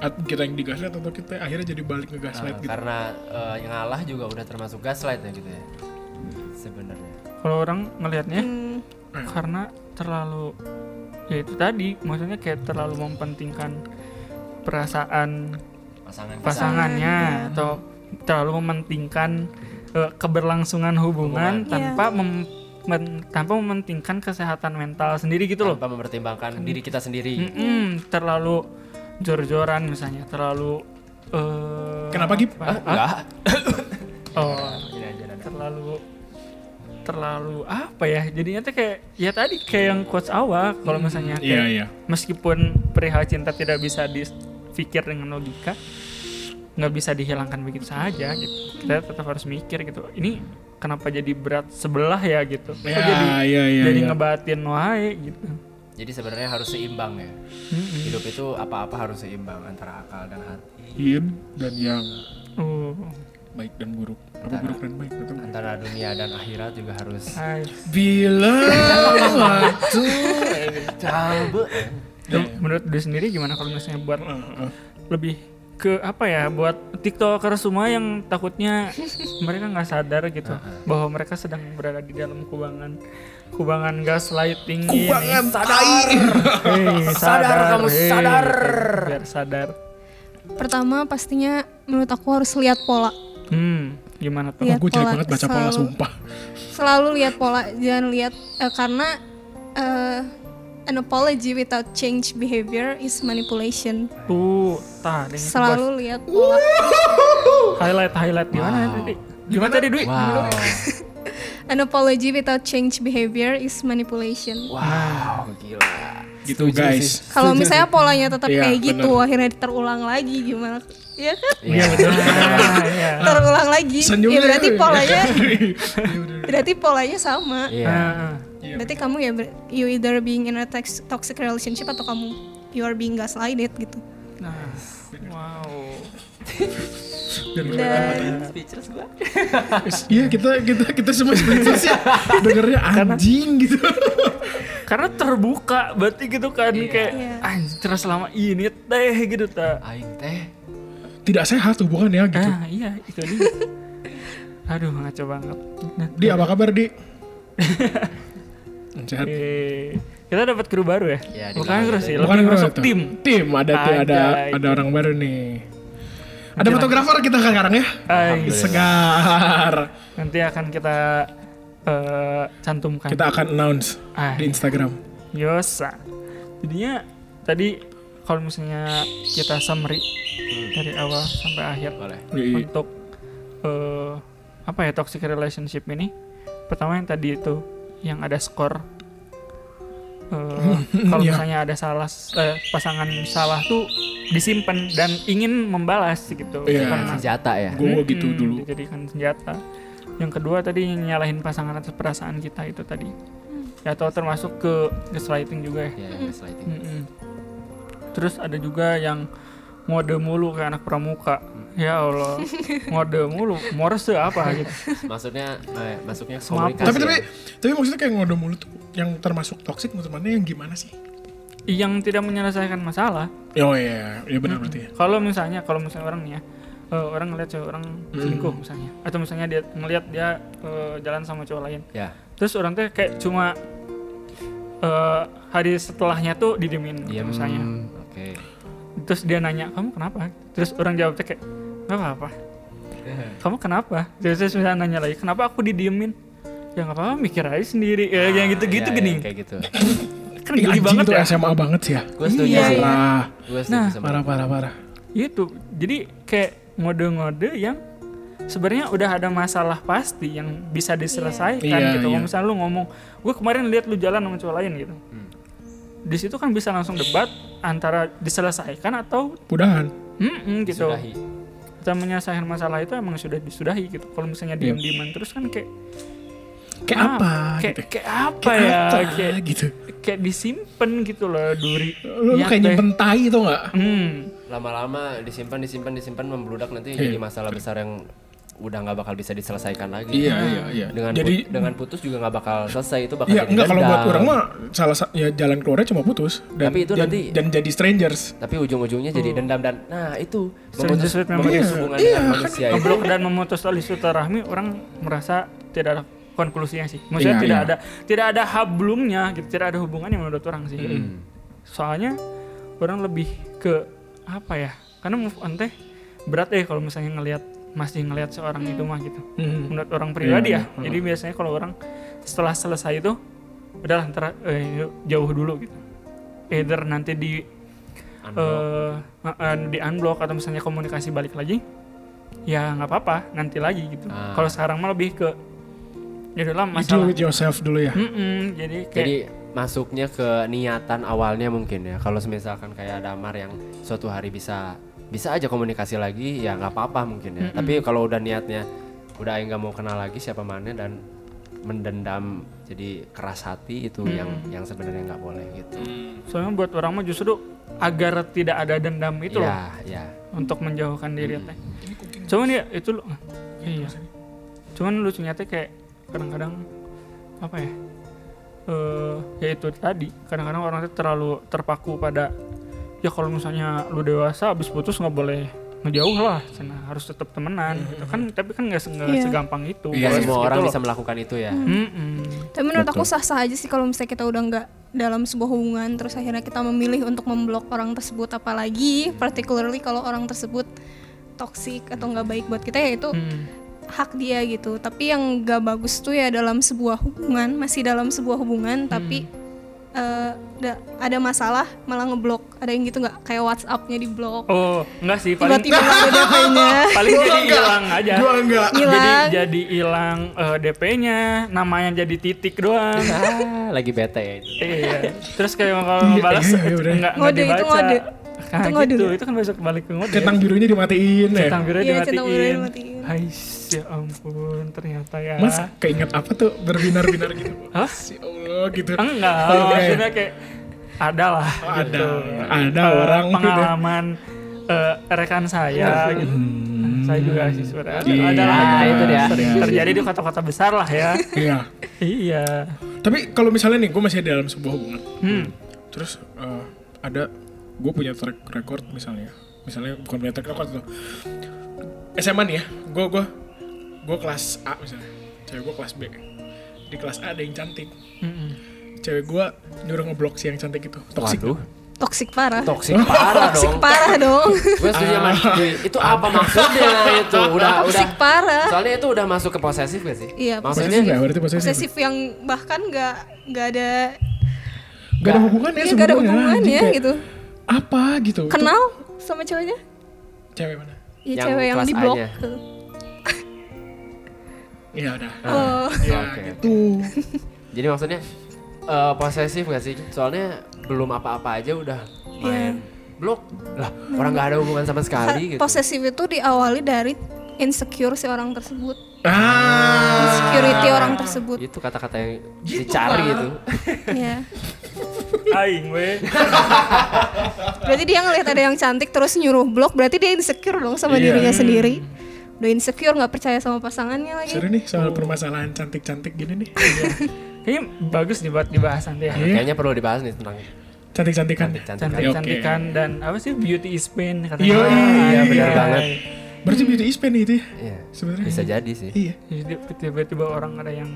[SPEAKER 3] At- kita yang digaslight atau kita akhirnya jadi balik ke gaslight
[SPEAKER 1] Ah,
[SPEAKER 3] gitu
[SPEAKER 1] Karena eh, yang ngalah juga udah termasuk gaslight ya gitu ya. Sebenarnya.
[SPEAKER 2] kalau orang melihatnya
[SPEAKER 4] Hmm,
[SPEAKER 2] karena terlalu ya itu tadi maksudnya kayak terlalu mempentingkan perasaan
[SPEAKER 1] Pasangan
[SPEAKER 2] pasangannya atau terlalu mementingkan eh, keberlangsungan
[SPEAKER 1] Hubungan.
[SPEAKER 2] hubungan tanpa mem- men- tanpa mementingkan kesehatan mental sendiri gitu loh. Hmm,
[SPEAKER 1] tanpa mempertimbangkan diri kita sendiri.
[SPEAKER 2] Mm-mm, terlalu jor-joran misalnya, terlalu eh,
[SPEAKER 3] Kenapa, Gip?
[SPEAKER 2] apa?
[SPEAKER 1] Ah, enggak.
[SPEAKER 2] Oh,
[SPEAKER 1] Ini aja Dada.
[SPEAKER 2] terlalu terlalu apa ya? Jadinya tuh kayak ya tadi kayak yang quotes awal kalau misalnya
[SPEAKER 3] iya
[SPEAKER 2] kayak
[SPEAKER 3] iya
[SPEAKER 2] meskipun perihal cinta tidak bisa dipikir dengan logika nggak bisa dihilangkan begitu saja gitu kita tetap harus mikir gitu ini kenapa jadi berat sebelah ya gitu Kok
[SPEAKER 3] Ya,
[SPEAKER 2] jadi
[SPEAKER 3] iya, iya,
[SPEAKER 2] jadi
[SPEAKER 3] iya.
[SPEAKER 2] ngebatin wae gitu
[SPEAKER 1] Jadi sebenarnya harus seimbang ya. Hidup itu apa-apa harus seimbang antara akal dan hati,
[SPEAKER 3] yin dan yang
[SPEAKER 2] oh
[SPEAKER 3] baik dan buruk apa buruk dan baik atau
[SPEAKER 1] antara dunia dan akhirat juga harus
[SPEAKER 2] nice.
[SPEAKER 3] bila waktu
[SPEAKER 1] Cabe.
[SPEAKER 3] Ya.
[SPEAKER 2] Lu- menurut diri sendiri gimana kalau misalnya buat
[SPEAKER 3] Heeh.
[SPEAKER 2] lebih ke apa ya buat tiktoker semua yang takutnya mereka nggak sadar gitu bahwa mereka sedang berada di dalam kubangan kubangan gaslighting kubangan sadar Hei, sadar kamu sadar biar sadar
[SPEAKER 4] pertama pastinya menurut aku harus lihat pola
[SPEAKER 2] hmm gimana tuh
[SPEAKER 4] Lihat
[SPEAKER 3] gue jelek
[SPEAKER 4] pola,
[SPEAKER 3] banget baca pola
[SPEAKER 4] selalu.
[SPEAKER 3] sumpah
[SPEAKER 4] selalu lihat pola jangan lihat eh, karena eh, an apology without change behavior is manipulation
[SPEAKER 2] tuh tah dengan
[SPEAKER 4] selalu lihat pola
[SPEAKER 2] sebuah highlight highlight gimana
[SPEAKER 1] Wow.
[SPEAKER 2] tadi gimana tadi Dwi
[SPEAKER 1] Wow.
[SPEAKER 4] an apology without change behavior is manipulation
[SPEAKER 1] Wow, gila.
[SPEAKER 3] gitu
[SPEAKER 1] Setuju
[SPEAKER 3] guys
[SPEAKER 1] sih.
[SPEAKER 4] kalau misalnya polanya tetap
[SPEAKER 3] Iya,
[SPEAKER 4] kayak gitu akhirnya terulang lagi gimana ya kan
[SPEAKER 1] Iya.
[SPEAKER 2] Ah, iya.
[SPEAKER 4] terulang lagi ya
[SPEAKER 3] senyumnya
[SPEAKER 4] berarti
[SPEAKER 3] itu ya.
[SPEAKER 4] polanya
[SPEAKER 3] Iya, bener.
[SPEAKER 4] berarti polanya sama
[SPEAKER 1] Iya.
[SPEAKER 2] Ah,
[SPEAKER 4] berarti kamu ya ber- you either being in a tox- toxic relationship atau kamu you are being gaslighted gitu
[SPEAKER 2] ah. wow
[SPEAKER 3] Dan-
[SPEAKER 4] dan
[SPEAKER 3] Iya kita kita kita semua seperti itu sih dengernya anjing gitu.
[SPEAKER 2] karena terbuka berarti gitu kan kayak
[SPEAKER 4] Iya.
[SPEAKER 2] anjir selama ini teh gitu ta
[SPEAKER 1] Aing teh
[SPEAKER 3] Tidak sehat hubungannya gitu.
[SPEAKER 2] ah iya itu dia aduh ngaco banget nah
[SPEAKER 3] Di apa kabar di? sehat.
[SPEAKER 2] eh, kita dapat kru baru ya,
[SPEAKER 1] Iya, di
[SPEAKER 2] bukan
[SPEAKER 1] belakang
[SPEAKER 2] kru
[SPEAKER 1] kita
[SPEAKER 2] sih
[SPEAKER 1] itu.
[SPEAKER 2] lebih
[SPEAKER 3] yang
[SPEAKER 2] masuk
[SPEAKER 3] tuh.
[SPEAKER 2] tim
[SPEAKER 3] Tim ada
[SPEAKER 2] Ada,
[SPEAKER 3] ada
[SPEAKER 2] itu.
[SPEAKER 3] ada orang baru nih. Ada fotografer kita sekarang ya.
[SPEAKER 2] Ah, iya.
[SPEAKER 3] Segar.
[SPEAKER 2] nanti akan kita eh, cantumkan
[SPEAKER 3] Kita akan announce
[SPEAKER 2] Ah,
[SPEAKER 3] di Instagram.
[SPEAKER 2] yosa jadinya tadi kalau misalnya kita summary dari awal sampai akhir
[SPEAKER 1] boleh.
[SPEAKER 3] Di-
[SPEAKER 2] untuk eh, apa ya toxic relationship ini pertama yang tadi itu yang ada skor Eh, kalau
[SPEAKER 3] iya.
[SPEAKER 2] misalnya ada salah eh, pasangan salah tuh disimpan dan ingin membalas gitu
[SPEAKER 3] Iya.
[SPEAKER 2] Karena-
[SPEAKER 1] Senjata ya.
[SPEAKER 3] Gue gitu
[SPEAKER 2] Mm-mm,
[SPEAKER 3] dulu.
[SPEAKER 2] Hmm, dijadikan senjata yang kedua tadi nyalahin pasangan atas perasaan kita itu tadi ya, atau termasuk ke gaslighting juga ya
[SPEAKER 1] Iya, yang gaslighting.
[SPEAKER 2] Mm-mm. Terus ada juga yang ngode mulu kayak anak pramuka.
[SPEAKER 3] Hmm.
[SPEAKER 2] Ya Allah, ngode mulu. Morse apa gitu.
[SPEAKER 1] Maksudnya eh, masuknya
[SPEAKER 2] Semaput.
[SPEAKER 1] komunikasi.
[SPEAKER 3] Tapi
[SPEAKER 1] ya.
[SPEAKER 3] tapi tapi maksudnya kayak ngode mulu tuh yang termasuk toksik menurut mana yang gimana sih?
[SPEAKER 2] Yang tidak menyelesaikan masalah.
[SPEAKER 3] Oh iya, iya benar berarti ya.
[SPEAKER 2] Kalau misalnya kalau misalnya orang nih ya eh, orang ngeliat cewek orang
[SPEAKER 3] Hmm.
[SPEAKER 2] selingkuh misalnya atau misalnya dia ngeliat dia eh, jalan sama cowok lain
[SPEAKER 1] ya.
[SPEAKER 2] terus orang tuh kayak cuma eh, hari setelahnya tuh didemin
[SPEAKER 1] Iya,
[SPEAKER 2] misalnya
[SPEAKER 1] hmm, Oke.
[SPEAKER 2] terus dia nanya kamu kenapa terus orang jawabnya kayak nggak apa-apa
[SPEAKER 1] Eh.
[SPEAKER 2] kamu kenapa terus terus misalnya nanya lagi kenapa aku didiemin ya nggak apa-apa mikir aja sendiri ya yang gitu-gitu
[SPEAKER 1] Iya, iya,
[SPEAKER 2] gini
[SPEAKER 1] kayak gitu.
[SPEAKER 2] kan
[SPEAKER 3] Ih,
[SPEAKER 2] geli
[SPEAKER 3] anjing
[SPEAKER 2] banget
[SPEAKER 3] itu
[SPEAKER 2] ya
[SPEAKER 3] SMA banget sih ya. iya.
[SPEAKER 1] Gue setuju
[SPEAKER 4] Iya,
[SPEAKER 1] sih.
[SPEAKER 4] iya.
[SPEAKER 3] Parah,
[SPEAKER 1] Gue setuju
[SPEAKER 2] Nah,
[SPEAKER 1] sama.
[SPEAKER 3] parah, parah, parah.
[SPEAKER 2] itu Gitu. jadi kayak ngode-ngode yang sebenarnya udah ada masalah pasti yang bisa diselesaikan
[SPEAKER 3] Iya,
[SPEAKER 2] gitu
[SPEAKER 3] iya.
[SPEAKER 2] Kalau misalnya lu ngomong gue kemarin lihat lu jalan sama cowok lain gitu
[SPEAKER 3] Hmm.
[SPEAKER 2] di situ kan bisa langsung debat antara diselesaikan atau
[SPEAKER 3] Mudahan.
[SPEAKER 2] mm gitu
[SPEAKER 1] Sudahi.
[SPEAKER 2] kita menyelesaikan masalah itu emang sudah disudahi gitu kalau misalnya
[SPEAKER 3] Iya.
[SPEAKER 2] diem-dieman terus kan kayak
[SPEAKER 3] Kayak
[SPEAKER 2] ah,
[SPEAKER 3] apa?
[SPEAKER 2] kayak,
[SPEAKER 3] gitu.
[SPEAKER 2] kayak apa ya
[SPEAKER 3] Apa?
[SPEAKER 2] kayak
[SPEAKER 3] gitu.
[SPEAKER 2] kayak disimpan gitu loh duri
[SPEAKER 3] Lu, lu
[SPEAKER 2] Ya,
[SPEAKER 3] kayak
[SPEAKER 2] teh.
[SPEAKER 3] nyimpen tai tau nggak?
[SPEAKER 2] hmm
[SPEAKER 3] Iya.
[SPEAKER 1] Lama-lama disimpan, disimpan, disimpan membludak nanti jadi masalah besar yang udah nggak bakal bisa diselesaikan lagi.
[SPEAKER 3] Iya, iya, iya.
[SPEAKER 1] Nah, Dengan
[SPEAKER 3] Jadi
[SPEAKER 1] put- dengan putus juga nggak bakal selesai itu bakal
[SPEAKER 3] Iya,
[SPEAKER 1] jadi
[SPEAKER 3] enggak kalau buat
[SPEAKER 1] dendam.
[SPEAKER 3] orang mah salah sa- ya jalan keluarnya cuma putus dan
[SPEAKER 1] Tapi itu
[SPEAKER 3] dan,
[SPEAKER 1] nanti-
[SPEAKER 3] dan jadi strangers.
[SPEAKER 1] Tapi ujung-ujungnya
[SPEAKER 3] Oh.
[SPEAKER 1] jadi dendam dan nah itu
[SPEAKER 2] Strangers
[SPEAKER 1] memutus,
[SPEAKER 2] with memory.
[SPEAKER 1] memutus
[SPEAKER 3] Iya,
[SPEAKER 1] hubungan
[SPEAKER 3] iya,
[SPEAKER 1] dengan
[SPEAKER 3] kan.
[SPEAKER 1] manusia itu.
[SPEAKER 2] ngeblok dan memutus tali silaturahmi orang merasa tidak ada konklusinya sih maksudnya
[SPEAKER 3] Iya,
[SPEAKER 2] tidak
[SPEAKER 3] iya.
[SPEAKER 2] ada tidak ada hablumnya gitu tidak ada hubungannya menurut orang sih
[SPEAKER 3] Hmm.
[SPEAKER 2] soalnya orang lebih ke apa ya karena move on teh berat eh kalau misalnya ngelihat masih ngelihat seorang itu mah gitu
[SPEAKER 3] Hmm.
[SPEAKER 1] Hmm,
[SPEAKER 2] menurut orang pribadi
[SPEAKER 3] Iya,
[SPEAKER 2] ya jadi biasanya kalau orang setelah selesai itu udahlah ntar eh, jauh dulu gitu either nanti di eh eh, di unblock atau misalnya komunikasi balik lagi ya nggak apa-apa nanti lagi gitu
[SPEAKER 1] Ah.
[SPEAKER 2] kalau sekarang mah lebih ke ya udah lah
[SPEAKER 3] You deal
[SPEAKER 2] masalah
[SPEAKER 3] with yourself dulu
[SPEAKER 1] Hmm.
[SPEAKER 3] ya.
[SPEAKER 2] Mm-mm, jadi kayak
[SPEAKER 1] Jadi masuknya ke niatan awalnya mungkin ya. Kalau misalkan kayak Damar yang suatu hari bisa bisa aja komunikasi lagi ya nggak apa-apa mungkin ya. Tapi kalau udah niatnya udah aing nggak mau kenal lagi siapa mana dan mendendam jadi keras hati itu
[SPEAKER 2] Mm.
[SPEAKER 1] yang yang sebenarnya nggak boleh gitu.
[SPEAKER 2] soalnya buat orang mah justru agar tidak ada dendam itu gitu loh
[SPEAKER 1] ya, ya.
[SPEAKER 2] untuk menjauhkan diri teh cuman ya itu lo iya cuman lucunya teh kayak kadang-kadang apa ya eh ya itu tadi kadang-kadang orang tuh terlalu terpaku pada ya kalau misalnya lu dewasa habis putus nggak boleh ngejauh lah cina harus tetap temenan gitu kan tapi kan nggak se- nggak
[SPEAKER 4] Iya.
[SPEAKER 2] segampang itu
[SPEAKER 1] Nggak
[SPEAKER 2] Gitu
[SPEAKER 1] semua orang
[SPEAKER 2] loh. Mm.
[SPEAKER 1] bisa melakukan itu ya.
[SPEAKER 2] Mm-mm.
[SPEAKER 4] Tapi menurut aku sah-sah aja sih kalau misalnya kita udah nggak dalam sebuah hubungan terus akhirnya kita memilih untuk memblok orang tersebut apalagi particularly kalau orang tersebut toksik atau nggak baik buat kita ya itu
[SPEAKER 2] Mm.
[SPEAKER 4] hak dia gitu. Tapi yang nggak bagus tuh ya dalam sebuah hubungan masih dalam sebuah hubungan tapi eh, da- ada masalah malah ngeblok ada yang gitu nggak kayak WhatsApp-nya diblok
[SPEAKER 2] oh enggak sih paling
[SPEAKER 4] tiba-tiba nggak ada DP-nya
[SPEAKER 2] paling jadi hilang aja
[SPEAKER 3] Gua enggak.
[SPEAKER 2] jadi
[SPEAKER 4] hilang
[SPEAKER 2] jadi hilang eh, DP-nya namanya jadi titik doang
[SPEAKER 1] Ah, lagi bete ya itu.
[SPEAKER 2] iya. Terus kayak kalau ngebalas
[SPEAKER 3] iya, iya,
[SPEAKER 2] enggak
[SPEAKER 3] udah.
[SPEAKER 2] enggak
[SPEAKER 4] Ngode, itu
[SPEAKER 2] dibaca.
[SPEAKER 4] ngode.
[SPEAKER 2] Nah,
[SPEAKER 4] Itu ngode.
[SPEAKER 2] gitu, itu kan besok balik ke ngode.
[SPEAKER 3] Centang birunya dimatiin ya.
[SPEAKER 2] Centang biru
[SPEAKER 4] Iya, centang biru
[SPEAKER 2] dimatiin.
[SPEAKER 4] dimatiin.
[SPEAKER 2] Hais, ya ampun, ternyata ya.
[SPEAKER 3] Mas keinget apa tuh berbinar-binar gitu?
[SPEAKER 2] Hah?
[SPEAKER 3] Si Allah gitu.
[SPEAKER 2] Enggak,
[SPEAKER 3] Oh, iya.
[SPEAKER 2] maksudnya kayak ada lah.
[SPEAKER 3] Oh, ada
[SPEAKER 2] gitu.
[SPEAKER 3] ada
[SPEAKER 2] Eh,
[SPEAKER 3] orang
[SPEAKER 2] pengalaman eh, rekan saya gitu. Saya juga sih sebenarnya ada, ada lah
[SPEAKER 1] Iya,
[SPEAKER 2] gitu.
[SPEAKER 1] itu dia.
[SPEAKER 2] Sering terjadi di kota-kota besar lah ya.
[SPEAKER 3] gitu. Iya.
[SPEAKER 2] iya.
[SPEAKER 3] Tapi kalau misalnya nih gue masih ada dalam sebuah hubungan.
[SPEAKER 2] Hmm.
[SPEAKER 3] Terus eh, ada gue punya track record misalnya. Misalnya bukan punya track record tuh. SMA nih ya. Gue gue gue kelas A misalnya. Cewek gue kelas B. Di kelas A ada yang cantik.
[SPEAKER 2] Mm-mm.
[SPEAKER 3] Cewek gue nyuruh ngeblok si yang cantik itu. Toksik.
[SPEAKER 1] Waduh,
[SPEAKER 4] toksik parah
[SPEAKER 1] toksik parah
[SPEAKER 4] toksik
[SPEAKER 1] dong.
[SPEAKER 4] parah dong
[SPEAKER 1] Gue setuju
[SPEAKER 2] Ah.
[SPEAKER 1] sama Dwi. Itu apa maksudnya itu? Udah udah
[SPEAKER 4] toksik parah
[SPEAKER 1] Soalnya itu udah masuk ke posesif gak sih?
[SPEAKER 4] Iya,
[SPEAKER 1] Maksudnya
[SPEAKER 3] Posesif ya, berarti posesif.
[SPEAKER 4] posesif yang bahkan nggak nggak ada
[SPEAKER 3] Gak ada hubungannya
[SPEAKER 4] iya nggak ada
[SPEAKER 3] sebelumnya,
[SPEAKER 4] hubungannya
[SPEAKER 3] anjing, kayak
[SPEAKER 4] gitu
[SPEAKER 3] Apa gitu? Itu
[SPEAKER 4] kenal sama ceweknya
[SPEAKER 3] Cewek mana?
[SPEAKER 4] ya
[SPEAKER 1] Yang
[SPEAKER 4] cewek yang
[SPEAKER 1] kelas
[SPEAKER 4] di blok
[SPEAKER 1] A-nya. Ah,
[SPEAKER 4] tuh.
[SPEAKER 3] Iya udah.
[SPEAKER 4] oh
[SPEAKER 3] Ya
[SPEAKER 1] Oke.
[SPEAKER 3] gitu.
[SPEAKER 1] Jadi maksudnya eh, posesif gak sih? Soalnya belum apa-apa aja udah
[SPEAKER 4] Iya.
[SPEAKER 1] main blok lah orang nggak ada hubungan sama sekali gitu.
[SPEAKER 4] posesif itu diawali dari insecure si orang tersebut
[SPEAKER 3] Ah.
[SPEAKER 4] security orang tersebut
[SPEAKER 1] Itu kata-kata yang
[SPEAKER 3] Gitu
[SPEAKER 1] dicari itu.
[SPEAKER 4] ya
[SPEAKER 2] Aing weh.
[SPEAKER 4] berarti dia ngelihat ada yang cantik terus nyuruh blok berarti dia insecure dong sama
[SPEAKER 3] Iya.
[SPEAKER 4] dirinya sendiri udah insecure nggak percaya sama pasangannya lagi
[SPEAKER 3] Seru nih soal permasalahan cantik-cantik gini nih.
[SPEAKER 2] Kayaknya bagus dibuat dibahas nanti ya.
[SPEAKER 3] Iya.
[SPEAKER 1] Kayaknya perlu dibahas nih tentang
[SPEAKER 3] Cantik-cantikan.
[SPEAKER 1] cantik-cantik.
[SPEAKER 2] cantik-cantikan dan apa sih beauty is pain katanya. Ah,
[SPEAKER 3] Iya, iya,
[SPEAKER 1] benar banget.
[SPEAKER 3] Berarti
[SPEAKER 2] Hmm.
[SPEAKER 3] beauty is pain itu ya?
[SPEAKER 1] Iya.
[SPEAKER 3] Sebenarnya.
[SPEAKER 1] Bisa jadi sih.
[SPEAKER 3] Iya.
[SPEAKER 2] Jadi tiba-tiba orang ada yang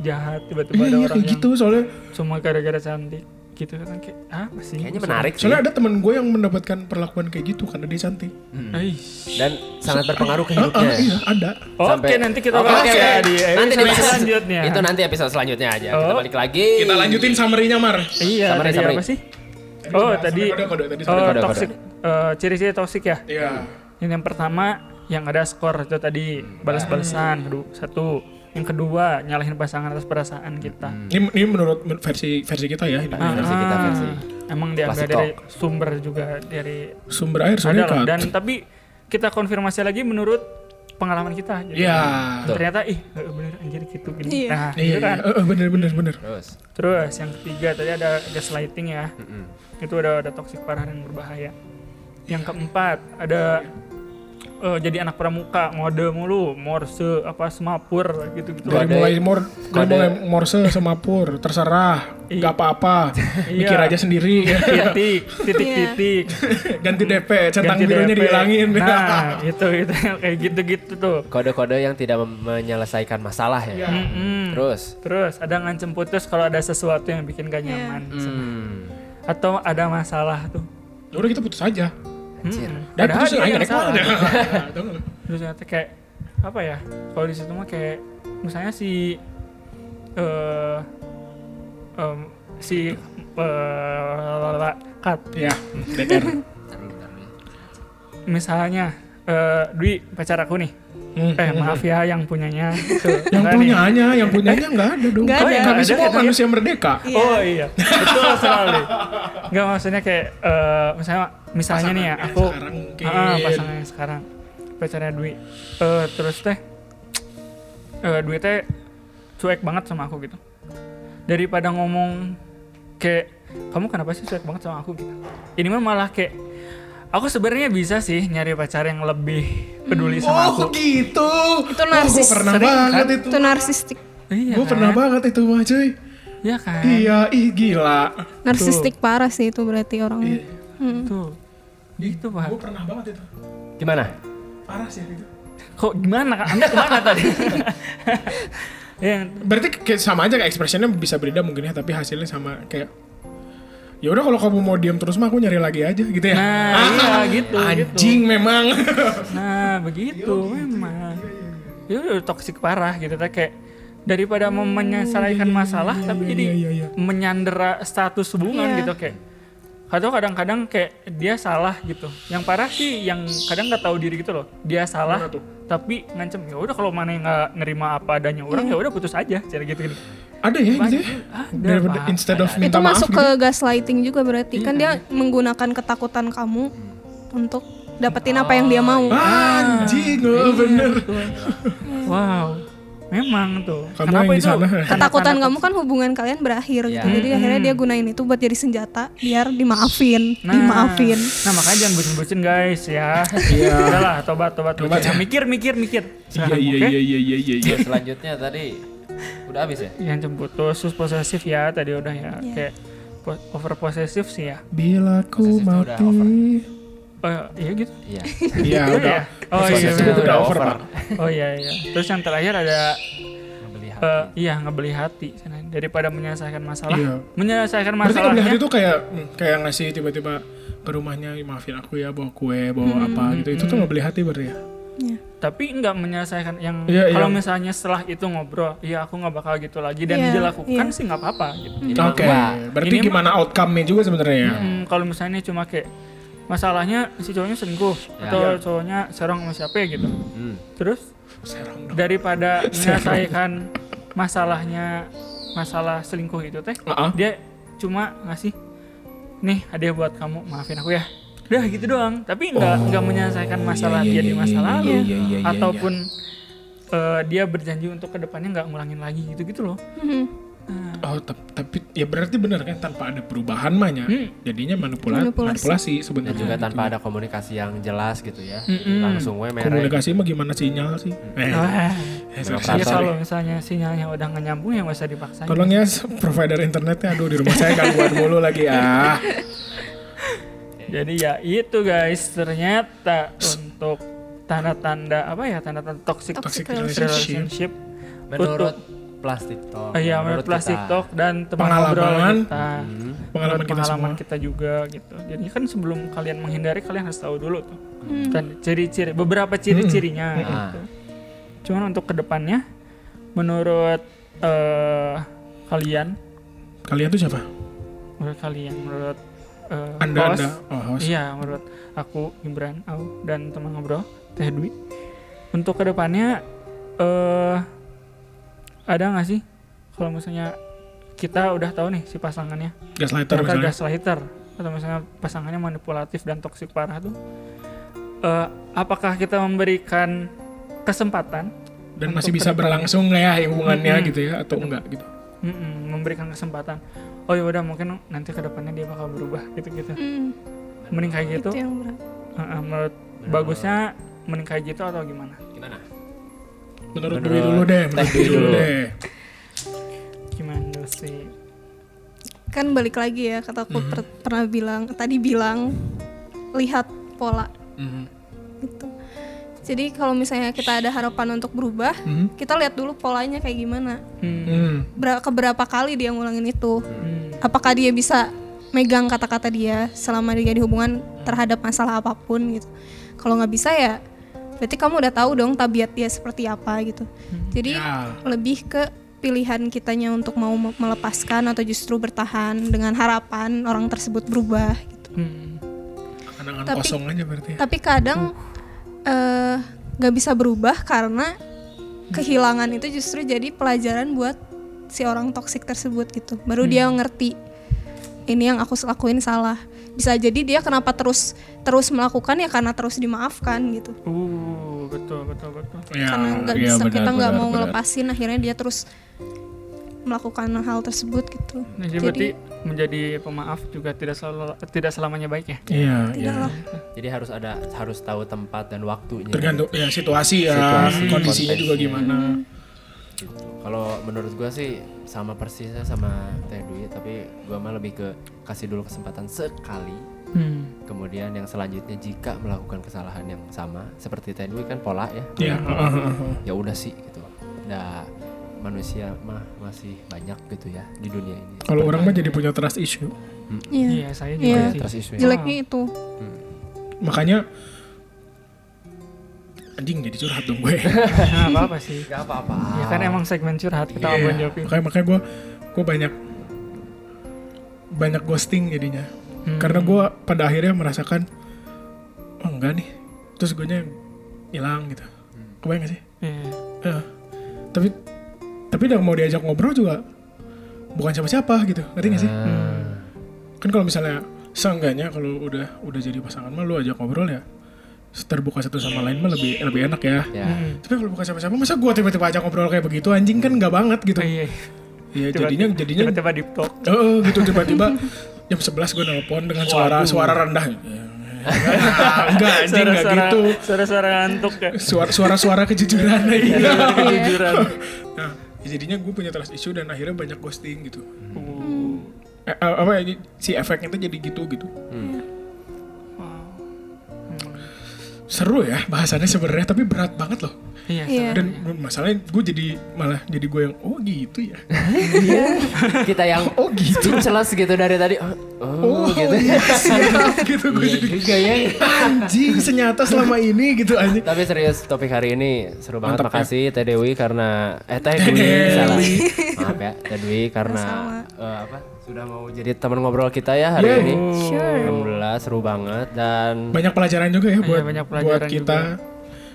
[SPEAKER 2] jahat, tiba-tiba
[SPEAKER 3] Iya,
[SPEAKER 2] ada
[SPEAKER 3] iya
[SPEAKER 2] orang
[SPEAKER 3] kayak
[SPEAKER 2] yang
[SPEAKER 3] gitu soalnya.
[SPEAKER 2] cuma gara-gara cantik gitu kan kayak apa sih?
[SPEAKER 1] Kayaknya menarik sih.
[SPEAKER 2] Iya.
[SPEAKER 3] Soalnya ada teman gue yang mendapatkan perlakuan kayak gitu karena dia cantik.
[SPEAKER 2] Ih.
[SPEAKER 1] Dan sangat berpengaruh ke
[SPEAKER 3] Ah, ah,
[SPEAKER 1] hidupnya.
[SPEAKER 3] iya ada.
[SPEAKER 2] Oke,
[SPEAKER 1] Hmm. Sampai-
[SPEAKER 2] nanti kita
[SPEAKER 1] Oke,
[SPEAKER 2] bahas
[SPEAKER 1] oke.
[SPEAKER 2] ya di
[SPEAKER 1] nanti
[SPEAKER 2] episode
[SPEAKER 1] dibahas.
[SPEAKER 2] selanjutnya.
[SPEAKER 1] Itu nanti episode selanjutnya aja. Kita
[SPEAKER 2] Oh.
[SPEAKER 1] balik lagi.
[SPEAKER 3] Kita lanjutin summary-nya Mar.
[SPEAKER 2] Iya,
[SPEAKER 1] Sampai-
[SPEAKER 2] tadi
[SPEAKER 1] sampai-
[SPEAKER 2] apa sih? Oh,
[SPEAKER 3] sampai
[SPEAKER 2] tadi
[SPEAKER 3] kode-kode,
[SPEAKER 2] oh,
[SPEAKER 3] tadi sampai
[SPEAKER 1] kode-kode.
[SPEAKER 2] toxic eh, ciri-ciri toksik ya.
[SPEAKER 3] Iya.
[SPEAKER 2] Ini yang pertama yang ada skor itu tadi balas-balasan kedua- satu. Yang kedua nyalahin pasangan atas perasaan kita.
[SPEAKER 3] Ini, ini menurut men- versi versi kita ya.
[SPEAKER 1] Ah.
[SPEAKER 3] Ini.
[SPEAKER 1] Hmm. versi kita,
[SPEAKER 2] Ah,
[SPEAKER 1] versi
[SPEAKER 2] Emang diambil
[SPEAKER 1] Plastic
[SPEAKER 2] dari sumber juga dari
[SPEAKER 3] Sumber air
[SPEAKER 2] ada
[SPEAKER 3] soalnya
[SPEAKER 2] loh.
[SPEAKER 3] kan.
[SPEAKER 2] Dan tapi kita konfirmasi lagi menurut pengalaman kita. Jadi
[SPEAKER 3] Iya.
[SPEAKER 2] Ternyata ih eh, bener anjir gitu gini.
[SPEAKER 4] Iya.
[SPEAKER 2] Nah,
[SPEAKER 3] Iya,
[SPEAKER 2] gitu kan.
[SPEAKER 3] eh, eh, bener bener bener.
[SPEAKER 1] Terus. Mm.
[SPEAKER 2] Terus yang ketiga tadi ada gaslighting ya.
[SPEAKER 1] Hmm.
[SPEAKER 2] Itu udah ada toxic parah dan berbahaya. Yang keempat ada eh, jadi anak pramuka ngode mulu morse apa semapur gitu gitu
[SPEAKER 1] Kode-
[SPEAKER 3] dari mulai mor dari
[SPEAKER 1] kode-
[SPEAKER 3] mulai morse sama pur terserah nggak apa-apa mikir
[SPEAKER 2] Iya.
[SPEAKER 3] aja sendiri
[SPEAKER 2] titik titik titik
[SPEAKER 3] ganti DP centang birunya
[SPEAKER 2] DP.
[SPEAKER 3] dihilangin
[SPEAKER 2] nah itu itu kayak gitu gitu tuh
[SPEAKER 1] Kode-kode yang tidak mem- menyelesaikan masalah ya.
[SPEAKER 2] Mm-mm.
[SPEAKER 1] Terus.
[SPEAKER 2] Hmm, terus ada ngancem putus kalau ada sesuatu yang bikin gak nyaman
[SPEAKER 1] Hmm.
[SPEAKER 2] atau ada masalah tuh
[SPEAKER 3] Ya udah kita putus aja
[SPEAKER 1] Anjir.
[SPEAKER 2] Mm-mm.
[SPEAKER 3] dan
[SPEAKER 2] Padahal
[SPEAKER 3] putus
[SPEAKER 2] dia
[SPEAKER 3] aja
[SPEAKER 2] yang
[SPEAKER 3] naik
[SPEAKER 2] salah.
[SPEAKER 3] mana? Tahu nggak?
[SPEAKER 2] terus ternyata kayak apa ya kalau di situ mah kayak misalnya si eh em, si eh, kat
[SPEAKER 3] Iya, DR.
[SPEAKER 2] misalnya eh, Dwi pacar aku nih
[SPEAKER 3] Hmm.
[SPEAKER 2] eh maaf ya yang punyanya Tuh,
[SPEAKER 3] Yang
[SPEAKER 2] kan nih.
[SPEAKER 3] punyanya, yang punyanya nggak ada dong.
[SPEAKER 4] Nggak
[SPEAKER 3] ya? Nggak Tapi
[SPEAKER 4] ada.
[SPEAKER 2] Nggak ada,
[SPEAKER 3] semua
[SPEAKER 2] nggak ada.
[SPEAKER 3] manusia merdeka.
[SPEAKER 2] Oh iya, betul sekali. Enggak maksudnya kayak eh, misalnya misalnya nih ya
[SPEAKER 3] Pasangan yang
[SPEAKER 2] aku
[SPEAKER 3] sekarang mungkin.
[SPEAKER 2] Ah, pasangan yang sekarang pacarnya Dwi. Eh, terus teh eh, Dwi teh cuek banget sama aku gitu. Daripada ngomong kayak kamu kenapa sih cuek banget sama aku gitu. Ini mah malah kayak aku sebenarnya bisa sih nyari pacar yang lebih peduli sama aku.
[SPEAKER 3] Oh gitu.
[SPEAKER 4] Itu narsis.
[SPEAKER 3] Gue pernah
[SPEAKER 4] Sering,
[SPEAKER 3] banget itu.
[SPEAKER 4] itu narsistik
[SPEAKER 2] Iya.
[SPEAKER 3] Gue
[SPEAKER 2] kan?
[SPEAKER 3] Oh, pernah banget itu mah cuy.
[SPEAKER 2] Iya kan?
[SPEAKER 3] Iya, ih gila.
[SPEAKER 4] narsistik parah sih itu berarti
[SPEAKER 3] Iya.
[SPEAKER 4] orangnya
[SPEAKER 2] Tuh. Gitu, Pak.
[SPEAKER 3] Gue pernah banget itu.
[SPEAKER 1] Gimana?
[SPEAKER 3] Parah sih gitu. itu.
[SPEAKER 2] Kok gimana Kak? Anda kemana tadi? Ya, yang
[SPEAKER 3] Berarti kayak sama aja kayak ekspresinya bisa beda mungkin ya, tapi hasilnya sama kayak Ya udah kalau kamu mau diam terus mah aku nyari lagi aja gitu ya.
[SPEAKER 2] Nah, iya, gitu,
[SPEAKER 3] Anjing memang.
[SPEAKER 2] nah
[SPEAKER 3] gitu.
[SPEAKER 2] begitu memang. Ya udah toksik parah gitu teh kayak daripada mau menyelesaikan masalah tapi jadi
[SPEAKER 3] Hmm, iya, iya, iya.
[SPEAKER 2] menyandera status hubungan
[SPEAKER 4] Iya.
[SPEAKER 2] gitu kayak atau kadang-kadang kayak dia salah gitu. Yang parah sih yang kadang nggak tahu diri gitu loh. Dia salah
[SPEAKER 3] Gimana tuh?
[SPEAKER 2] tapi ngancem ya udah kalau mana yang nggak nerima apa adanya
[SPEAKER 3] Iya.
[SPEAKER 2] orang ya udah putus aja cara gitu gitu.
[SPEAKER 3] Ada ya gitu ya.
[SPEAKER 2] Ada,
[SPEAKER 3] Daripada
[SPEAKER 2] Pak.
[SPEAKER 3] instead of
[SPEAKER 4] itu
[SPEAKER 3] minta maaf
[SPEAKER 4] masuk
[SPEAKER 3] gitu.
[SPEAKER 4] ke gaslighting juga berarti kan dia menggunakan ketakutan kamu untuk dapetin apa yang dia mau
[SPEAKER 3] Ah, Anjing, oh, bener.
[SPEAKER 2] Wow. Memang tuh.
[SPEAKER 3] Kamu yang di sana.
[SPEAKER 4] ketakutan kamu kan hubungan kalian berakhir gitu.
[SPEAKER 1] Iya.
[SPEAKER 4] Jadi akhirnya dia gunain itu buat jadi senjata biar dimaafin,
[SPEAKER 2] Nah,
[SPEAKER 4] dimaafin.
[SPEAKER 2] Nah makanya jangan bucin-bucin guys ya. Iya. Udahlah tobat tobat tobat.
[SPEAKER 3] Tobat.
[SPEAKER 2] Mikir mikir mikir.
[SPEAKER 3] Iya iya iya iya iya iya iya.
[SPEAKER 1] Terus selanjutnya tadi udah habis ya?
[SPEAKER 2] Yang jemput terus posesif ya tadi udah ya
[SPEAKER 4] Iya.
[SPEAKER 2] kayak po- over posesif sih ya.
[SPEAKER 3] Bila ku
[SPEAKER 1] Proses itu udah
[SPEAKER 3] mati.
[SPEAKER 1] over.
[SPEAKER 2] Oh iya gitu.
[SPEAKER 1] Iya.
[SPEAKER 3] Iya
[SPEAKER 2] Iya, iya.
[SPEAKER 3] udah.
[SPEAKER 2] Oh iya.
[SPEAKER 3] Proses itu
[SPEAKER 2] benar.
[SPEAKER 3] udah over, Pak.
[SPEAKER 2] Oh iya iya. Terus yang terakhir ada
[SPEAKER 1] Ngebeli hati.
[SPEAKER 2] eh, iya ngebeli hati sana. daripada menyelesaikan masalah.
[SPEAKER 3] Iya.
[SPEAKER 2] Menyelesaikan ya,
[SPEAKER 3] Berarti nggak beli hati
[SPEAKER 2] masalahnya.
[SPEAKER 3] itu kayak hmm, kayak ngasih tiba-tiba ke rumahnya "Ih, maafin aku ya bawa kue bawa apa gitu itu tuh nggak beli hati berarti ya
[SPEAKER 4] Iya.
[SPEAKER 2] Tapi nggak menyelesaikan yang
[SPEAKER 3] Iya,
[SPEAKER 2] kalau
[SPEAKER 3] iya.
[SPEAKER 2] misalnya setelah itu ngobrol, iya aku nggak bakal gitu lagi dan
[SPEAKER 4] Iya,
[SPEAKER 2] dilakukan
[SPEAKER 4] iya.
[SPEAKER 2] sih nggak apa-apa. Gitu.
[SPEAKER 1] mah
[SPEAKER 3] oke
[SPEAKER 1] gua.
[SPEAKER 3] berarti
[SPEAKER 2] Ini mah-
[SPEAKER 3] gimana outcome-nya juga sebenarnya ya
[SPEAKER 1] Nah.
[SPEAKER 2] Hmm, kalau misalnya cuma kayak masalahnya si cowoknya selingkuh
[SPEAKER 1] Ya.
[SPEAKER 2] atau cowoknya serong sama siapa ya gitu.
[SPEAKER 1] Hmm.
[SPEAKER 2] Terus
[SPEAKER 3] serong dong
[SPEAKER 2] daripada menyelesaikan masalahnya masalah selingkuh itu teh,
[SPEAKER 3] Ah, ah.
[SPEAKER 2] dia cuma ngasih nih hadiah buat kamu, maafin aku ya. Udah gitu doang, tapi nggak
[SPEAKER 1] Oh,
[SPEAKER 2] nggak
[SPEAKER 1] iya,
[SPEAKER 2] menyelesaikan masalah dia di masa lalu ataupun
[SPEAKER 1] iya.
[SPEAKER 2] eh, dia berjanji untuk kedepannya nggak ngulangin lagi gitu-gitu loh.
[SPEAKER 4] Mhm.
[SPEAKER 3] oh tap- tapi ya berarti bener kan tanpa ada perubahan mahnya jadinya manipula-
[SPEAKER 4] Manipulasi.
[SPEAKER 3] manipulasi
[SPEAKER 1] Dan
[SPEAKER 3] sebenarnya
[SPEAKER 1] juga tanpa ada komunikasi yang jelas gitu ya.
[SPEAKER 2] Mm-mm.
[SPEAKER 1] Langsung gue merek.
[SPEAKER 3] komunikasi mah gimana sinyal sih
[SPEAKER 1] Iya.
[SPEAKER 3] eh,
[SPEAKER 2] Wah.
[SPEAKER 3] eh, sorry,
[SPEAKER 2] Ya
[SPEAKER 1] Sorry.
[SPEAKER 2] kalau misalnya sinyalnya udah nggak nyambung ya nggak usah dipaksain.
[SPEAKER 3] Tolong ya s- provider internetnya aduh di rumah saya gangguan mulu lagi ah.
[SPEAKER 2] Jadi ya itu guys ternyata untuk tanda-tanda apa ya tanda-tanda toxic,
[SPEAKER 3] Toxic relationship.
[SPEAKER 2] relationship.
[SPEAKER 1] Menurut plastik talk.
[SPEAKER 2] Oh iya menurut plastik
[SPEAKER 1] kita.
[SPEAKER 2] talk dan teman
[SPEAKER 3] Pengalaman. Hmm.
[SPEAKER 2] ngobrol kita.
[SPEAKER 3] Pengalaman
[SPEAKER 2] Menurut
[SPEAKER 3] kita
[SPEAKER 2] pengalaman
[SPEAKER 3] semua.
[SPEAKER 2] kita juga gitu. Jadi kan sebelum kalian menghindari kalian harus tahu dulu tuh.
[SPEAKER 4] Hmm.
[SPEAKER 3] Hmm.
[SPEAKER 2] Dan ciri-ciri beberapa ciri-cirinya gitu. Cuman untuk kedepannya menurut eh, kalian
[SPEAKER 3] Kalian tuh siapa?
[SPEAKER 2] menurut kalian menurut eh,
[SPEAKER 3] Anda
[SPEAKER 2] host,
[SPEAKER 3] Anda. Oh, host.
[SPEAKER 2] Iya, menurut aku Gibran, Au dan teman ngobrol Teh Dwi. Untuk kedepannya eh ada nggak sih kalau misalnya kita udah tahu nih si pasangannya
[SPEAKER 3] Gaslighter
[SPEAKER 2] ternyata
[SPEAKER 3] misalnya.
[SPEAKER 2] gaslighter atau misalnya pasangannya manipulatif dan toksik parah tuh, eh, apakah kita memberikan kesempatan
[SPEAKER 3] Dan
[SPEAKER 2] Untuk
[SPEAKER 3] masih bisa berlangsung nggak ya hubungannya gitu ya atau enggak gitu.
[SPEAKER 2] Mm-mm, memberikan kesempatan? Oh ya udah mungkin nanti kedepannya dia bakal berubah gitu-gitu.
[SPEAKER 4] Mhm.
[SPEAKER 2] Mending kayak gitu.
[SPEAKER 4] Itu yang berat.
[SPEAKER 2] Uh, uh, menurut bagusnya menikahi gitu atau gimana?
[SPEAKER 1] Gimana? Menurut-
[SPEAKER 3] Menurut, Dwi dulu deh, menurut
[SPEAKER 1] Eh,
[SPEAKER 3] Dwi
[SPEAKER 1] Dwi
[SPEAKER 3] dulu
[SPEAKER 1] dulu.
[SPEAKER 3] deh.
[SPEAKER 2] Gimana sih?
[SPEAKER 4] kan balik lagi ya kata aku per- pernah bilang tadi bilang lihat pola
[SPEAKER 3] Mhm.
[SPEAKER 4] gitu jadi kalau misalnya kita ada harapan untuk berubah
[SPEAKER 3] Mhm.
[SPEAKER 4] kita lihat dulu polanya kayak gimana
[SPEAKER 2] Hmm.
[SPEAKER 3] Hmm.
[SPEAKER 4] Ber- keberapa kali dia ngulangin itu
[SPEAKER 2] Hmm.
[SPEAKER 4] apakah dia bisa megang kata-kata dia selama dia di hubungan terhadap masalah apapun gitu kalau nggak bisa ya berarti kamu udah tahu dong tabiat dia seperti apa gitu jadi
[SPEAKER 3] Ya.
[SPEAKER 4] lebih ke pilihan kitanya untuk mau me- melepaskan atau justru bertahan dengan harapan orang tersebut berubah gitu.
[SPEAKER 2] Hmm.
[SPEAKER 3] Kenangan
[SPEAKER 4] Tapi-
[SPEAKER 3] kosong aja berarti. ya.
[SPEAKER 4] tapi kadang eh, nggak bisa berubah karena kehilangan itu justru jadi pelajaran buat si orang toksik tersebut gitu baru dia
[SPEAKER 3] Hmm.
[SPEAKER 4] ngerti ini yang aku lakuin salah bisa jadi dia kenapa terus terus melakukan ya karena terus dimaafkan gitu
[SPEAKER 2] Uh, betul betul betul.
[SPEAKER 3] Ya,
[SPEAKER 4] karena nggak
[SPEAKER 3] ya,
[SPEAKER 4] bisa
[SPEAKER 3] benar,
[SPEAKER 4] kita nggak
[SPEAKER 3] benar,
[SPEAKER 4] mau ya,
[SPEAKER 3] benar.
[SPEAKER 4] ngelepasin akhirnya dia terus melakukan hal tersebut gitu
[SPEAKER 2] Nah, jadi berarti menjadi pemaaf juga tidak selalu tidak selamanya baik ya.
[SPEAKER 3] Iya, iya.
[SPEAKER 4] tidaklah
[SPEAKER 1] Jadi harus ada harus tahu tempat dan waktunya.
[SPEAKER 3] Tergantung ya situasi ya,
[SPEAKER 1] Situasi,
[SPEAKER 3] kondisinya juga
[SPEAKER 1] konteksnya.
[SPEAKER 3] gimana.
[SPEAKER 4] Hmm.
[SPEAKER 1] Gitu. Kalau menurut gua sih sama persisnya sama Teh Dwi, tapi gua mah lebih ke kasih dulu kesempatan sekali.
[SPEAKER 2] Hmm.
[SPEAKER 1] Kemudian yang selanjutnya jika melakukan kesalahan yang sama seperti Teh Dwi kan pola ya.
[SPEAKER 3] Iya, heeh, heeh, heeh.
[SPEAKER 1] Ya udah sih gitu. Nah, manusia mah masih banyak gitu ya di dunia ini.
[SPEAKER 3] Kalau orang mah jadi punya trust issue.
[SPEAKER 4] iya
[SPEAKER 2] Iya, saya
[SPEAKER 1] Oh
[SPEAKER 2] juga
[SPEAKER 1] ya,
[SPEAKER 2] sih.
[SPEAKER 1] trust issue ya.
[SPEAKER 4] jeleknya itu
[SPEAKER 3] Makanya anjing jadi curhat dong gue.
[SPEAKER 2] Nah, apa apa sih?
[SPEAKER 1] Gak apa-apa.
[SPEAKER 2] Ya kan emang segmen curhat kita
[SPEAKER 3] Iya.
[SPEAKER 2] ngomongin Jopi.
[SPEAKER 3] Makanya makanya gue gue banyak banyak ghosting jadinya.
[SPEAKER 2] Hmm.
[SPEAKER 3] Karena gue pada akhirnya merasakan oh enggak nih. Terus gue hilang gitu. Kebayang gak sih?
[SPEAKER 2] Iya.
[SPEAKER 3] Iya. tapi tapi udah mau diajak ngobrol juga bukan siapa-siapa gitu. Ngerti gak
[SPEAKER 1] Hmm.
[SPEAKER 3] sih? Kan kalau misalnya seenggaknya kalau udah udah jadi pasangan mah lu ajak ngobrol ya terbuka satu sama lain mah lebih lebih enak ya.
[SPEAKER 1] Ya.
[SPEAKER 2] Hmm.
[SPEAKER 3] Tapi kalau bukan siapa-siapa masa gue tiba-tiba ajak ngobrol kayak begitu anjing kan nggak banget gitu.
[SPEAKER 2] Oh, iya.
[SPEAKER 3] Iya jadinya jadinya
[SPEAKER 2] tiba-tiba deep talk.
[SPEAKER 3] eh, eh, gitu tiba-tiba jam 11 gue nelpon dengan suara suara rendah. Ya, Enggak anjing enggak
[SPEAKER 2] Suara-suara-
[SPEAKER 3] gitu.
[SPEAKER 2] Suara-suara ngantuk ya.
[SPEAKER 4] Oh,
[SPEAKER 3] Suara- Suara-suara kejujuran aja.
[SPEAKER 4] iya.
[SPEAKER 2] Kejujuran.
[SPEAKER 3] Nah, ya jadinya gue punya trust issue dan akhirnya banyak ghosting gitu.
[SPEAKER 4] Hmm.
[SPEAKER 2] Uh,
[SPEAKER 3] Eh, eh, apa ya, si efeknya tuh jadi gitu gitu.
[SPEAKER 2] wow.
[SPEAKER 3] Seru ya bahasannya sebenarnya tapi berat banget loh.
[SPEAKER 2] Iya.
[SPEAKER 4] Iya.
[SPEAKER 2] sama.
[SPEAKER 3] Dan masalahnya gue jadi malah jadi gue yang oh gitu ya.
[SPEAKER 1] Kita yang
[SPEAKER 3] Oh gitu.
[SPEAKER 1] speechless gitu dari tadi. Oh, oh,
[SPEAKER 3] Oh,
[SPEAKER 1] gitu.
[SPEAKER 3] iya, siap, gitu gue
[SPEAKER 1] Iya
[SPEAKER 3] jadi
[SPEAKER 1] juga ya.
[SPEAKER 3] anjing senyata selama ini gitu anjing.
[SPEAKER 1] Tapi serius topik hari ini seru banget.
[SPEAKER 3] Mantap, ya.
[SPEAKER 1] Makasih Teh Dewi karena eh Teh Dwi
[SPEAKER 3] Dewi.
[SPEAKER 1] salah. Maaf ya Teh Dwi karena eh, apa sudah mau jadi teman ngobrol kita ya hari
[SPEAKER 3] Yeah.
[SPEAKER 1] ini.
[SPEAKER 4] Sure.
[SPEAKER 1] Alhamdulillah seru banget dan
[SPEAKER 3] Banyak pelajaran juga ya buat
[SPEAKER 2] banyak pelajaran
[SPEAKER 3] buat kita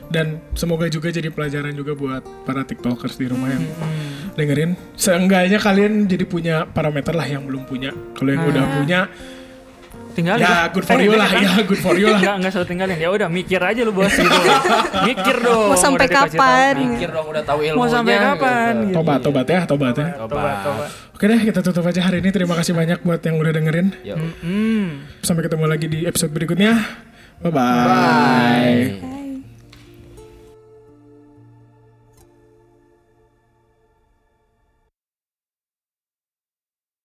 [SPEAKER 3] dan semoga juga jadi pelajaran juga buat para tiktokers di rumah yang dengerin. Seenggaknya kalian jadi punya parameter lah yang belum punya. Kalau yang udah punya
[SPEAKER 2] Tinggalin.
[SPEAKER 3] ya good for
[SPEAKER 2] Eh,
[SPEAKER 3] you
[SPEAKER 2] iya
[SPEAKER 3] lah,
[SPEAKER 2] kan?
[SPEAKER 3] ya good for you lah.
[SPEAKER 2] Enggak, enggak selalu tinggalin. Ya udah mikir aja lu bos gitu. mikir dong.
[SPEAKER 4] Mau sampai
[SPEAKER 2] udah dikasih
[SPEAKER 4] kapan?
[SPEAKER 2] tahu.
[SPEAKER 1] mikir dong udah tahu ilmunya.
[SPEAKER 2] Mau sampai kapan?
[SPEAKER 1] gitu.
[SPEAKER 2] gitu.
[SPEAKER 3] Tobat, tobat ya, tobat ya.
[SPEAKER 1] Tobat.
[SPEAKER 2] Tobat.
[SPEAKER 3] Oke deh, kita tutup aja hari ini. Terima kasih banyak buat yang udah dengerin.
[SPEAKER 1] Yuk.
[SPEAKER 2] Hmm.
[SPEAKER 3] Sampai ketemu lagi di episode berikutnya. Bye-bye.
[SPEAKER 1] Bye.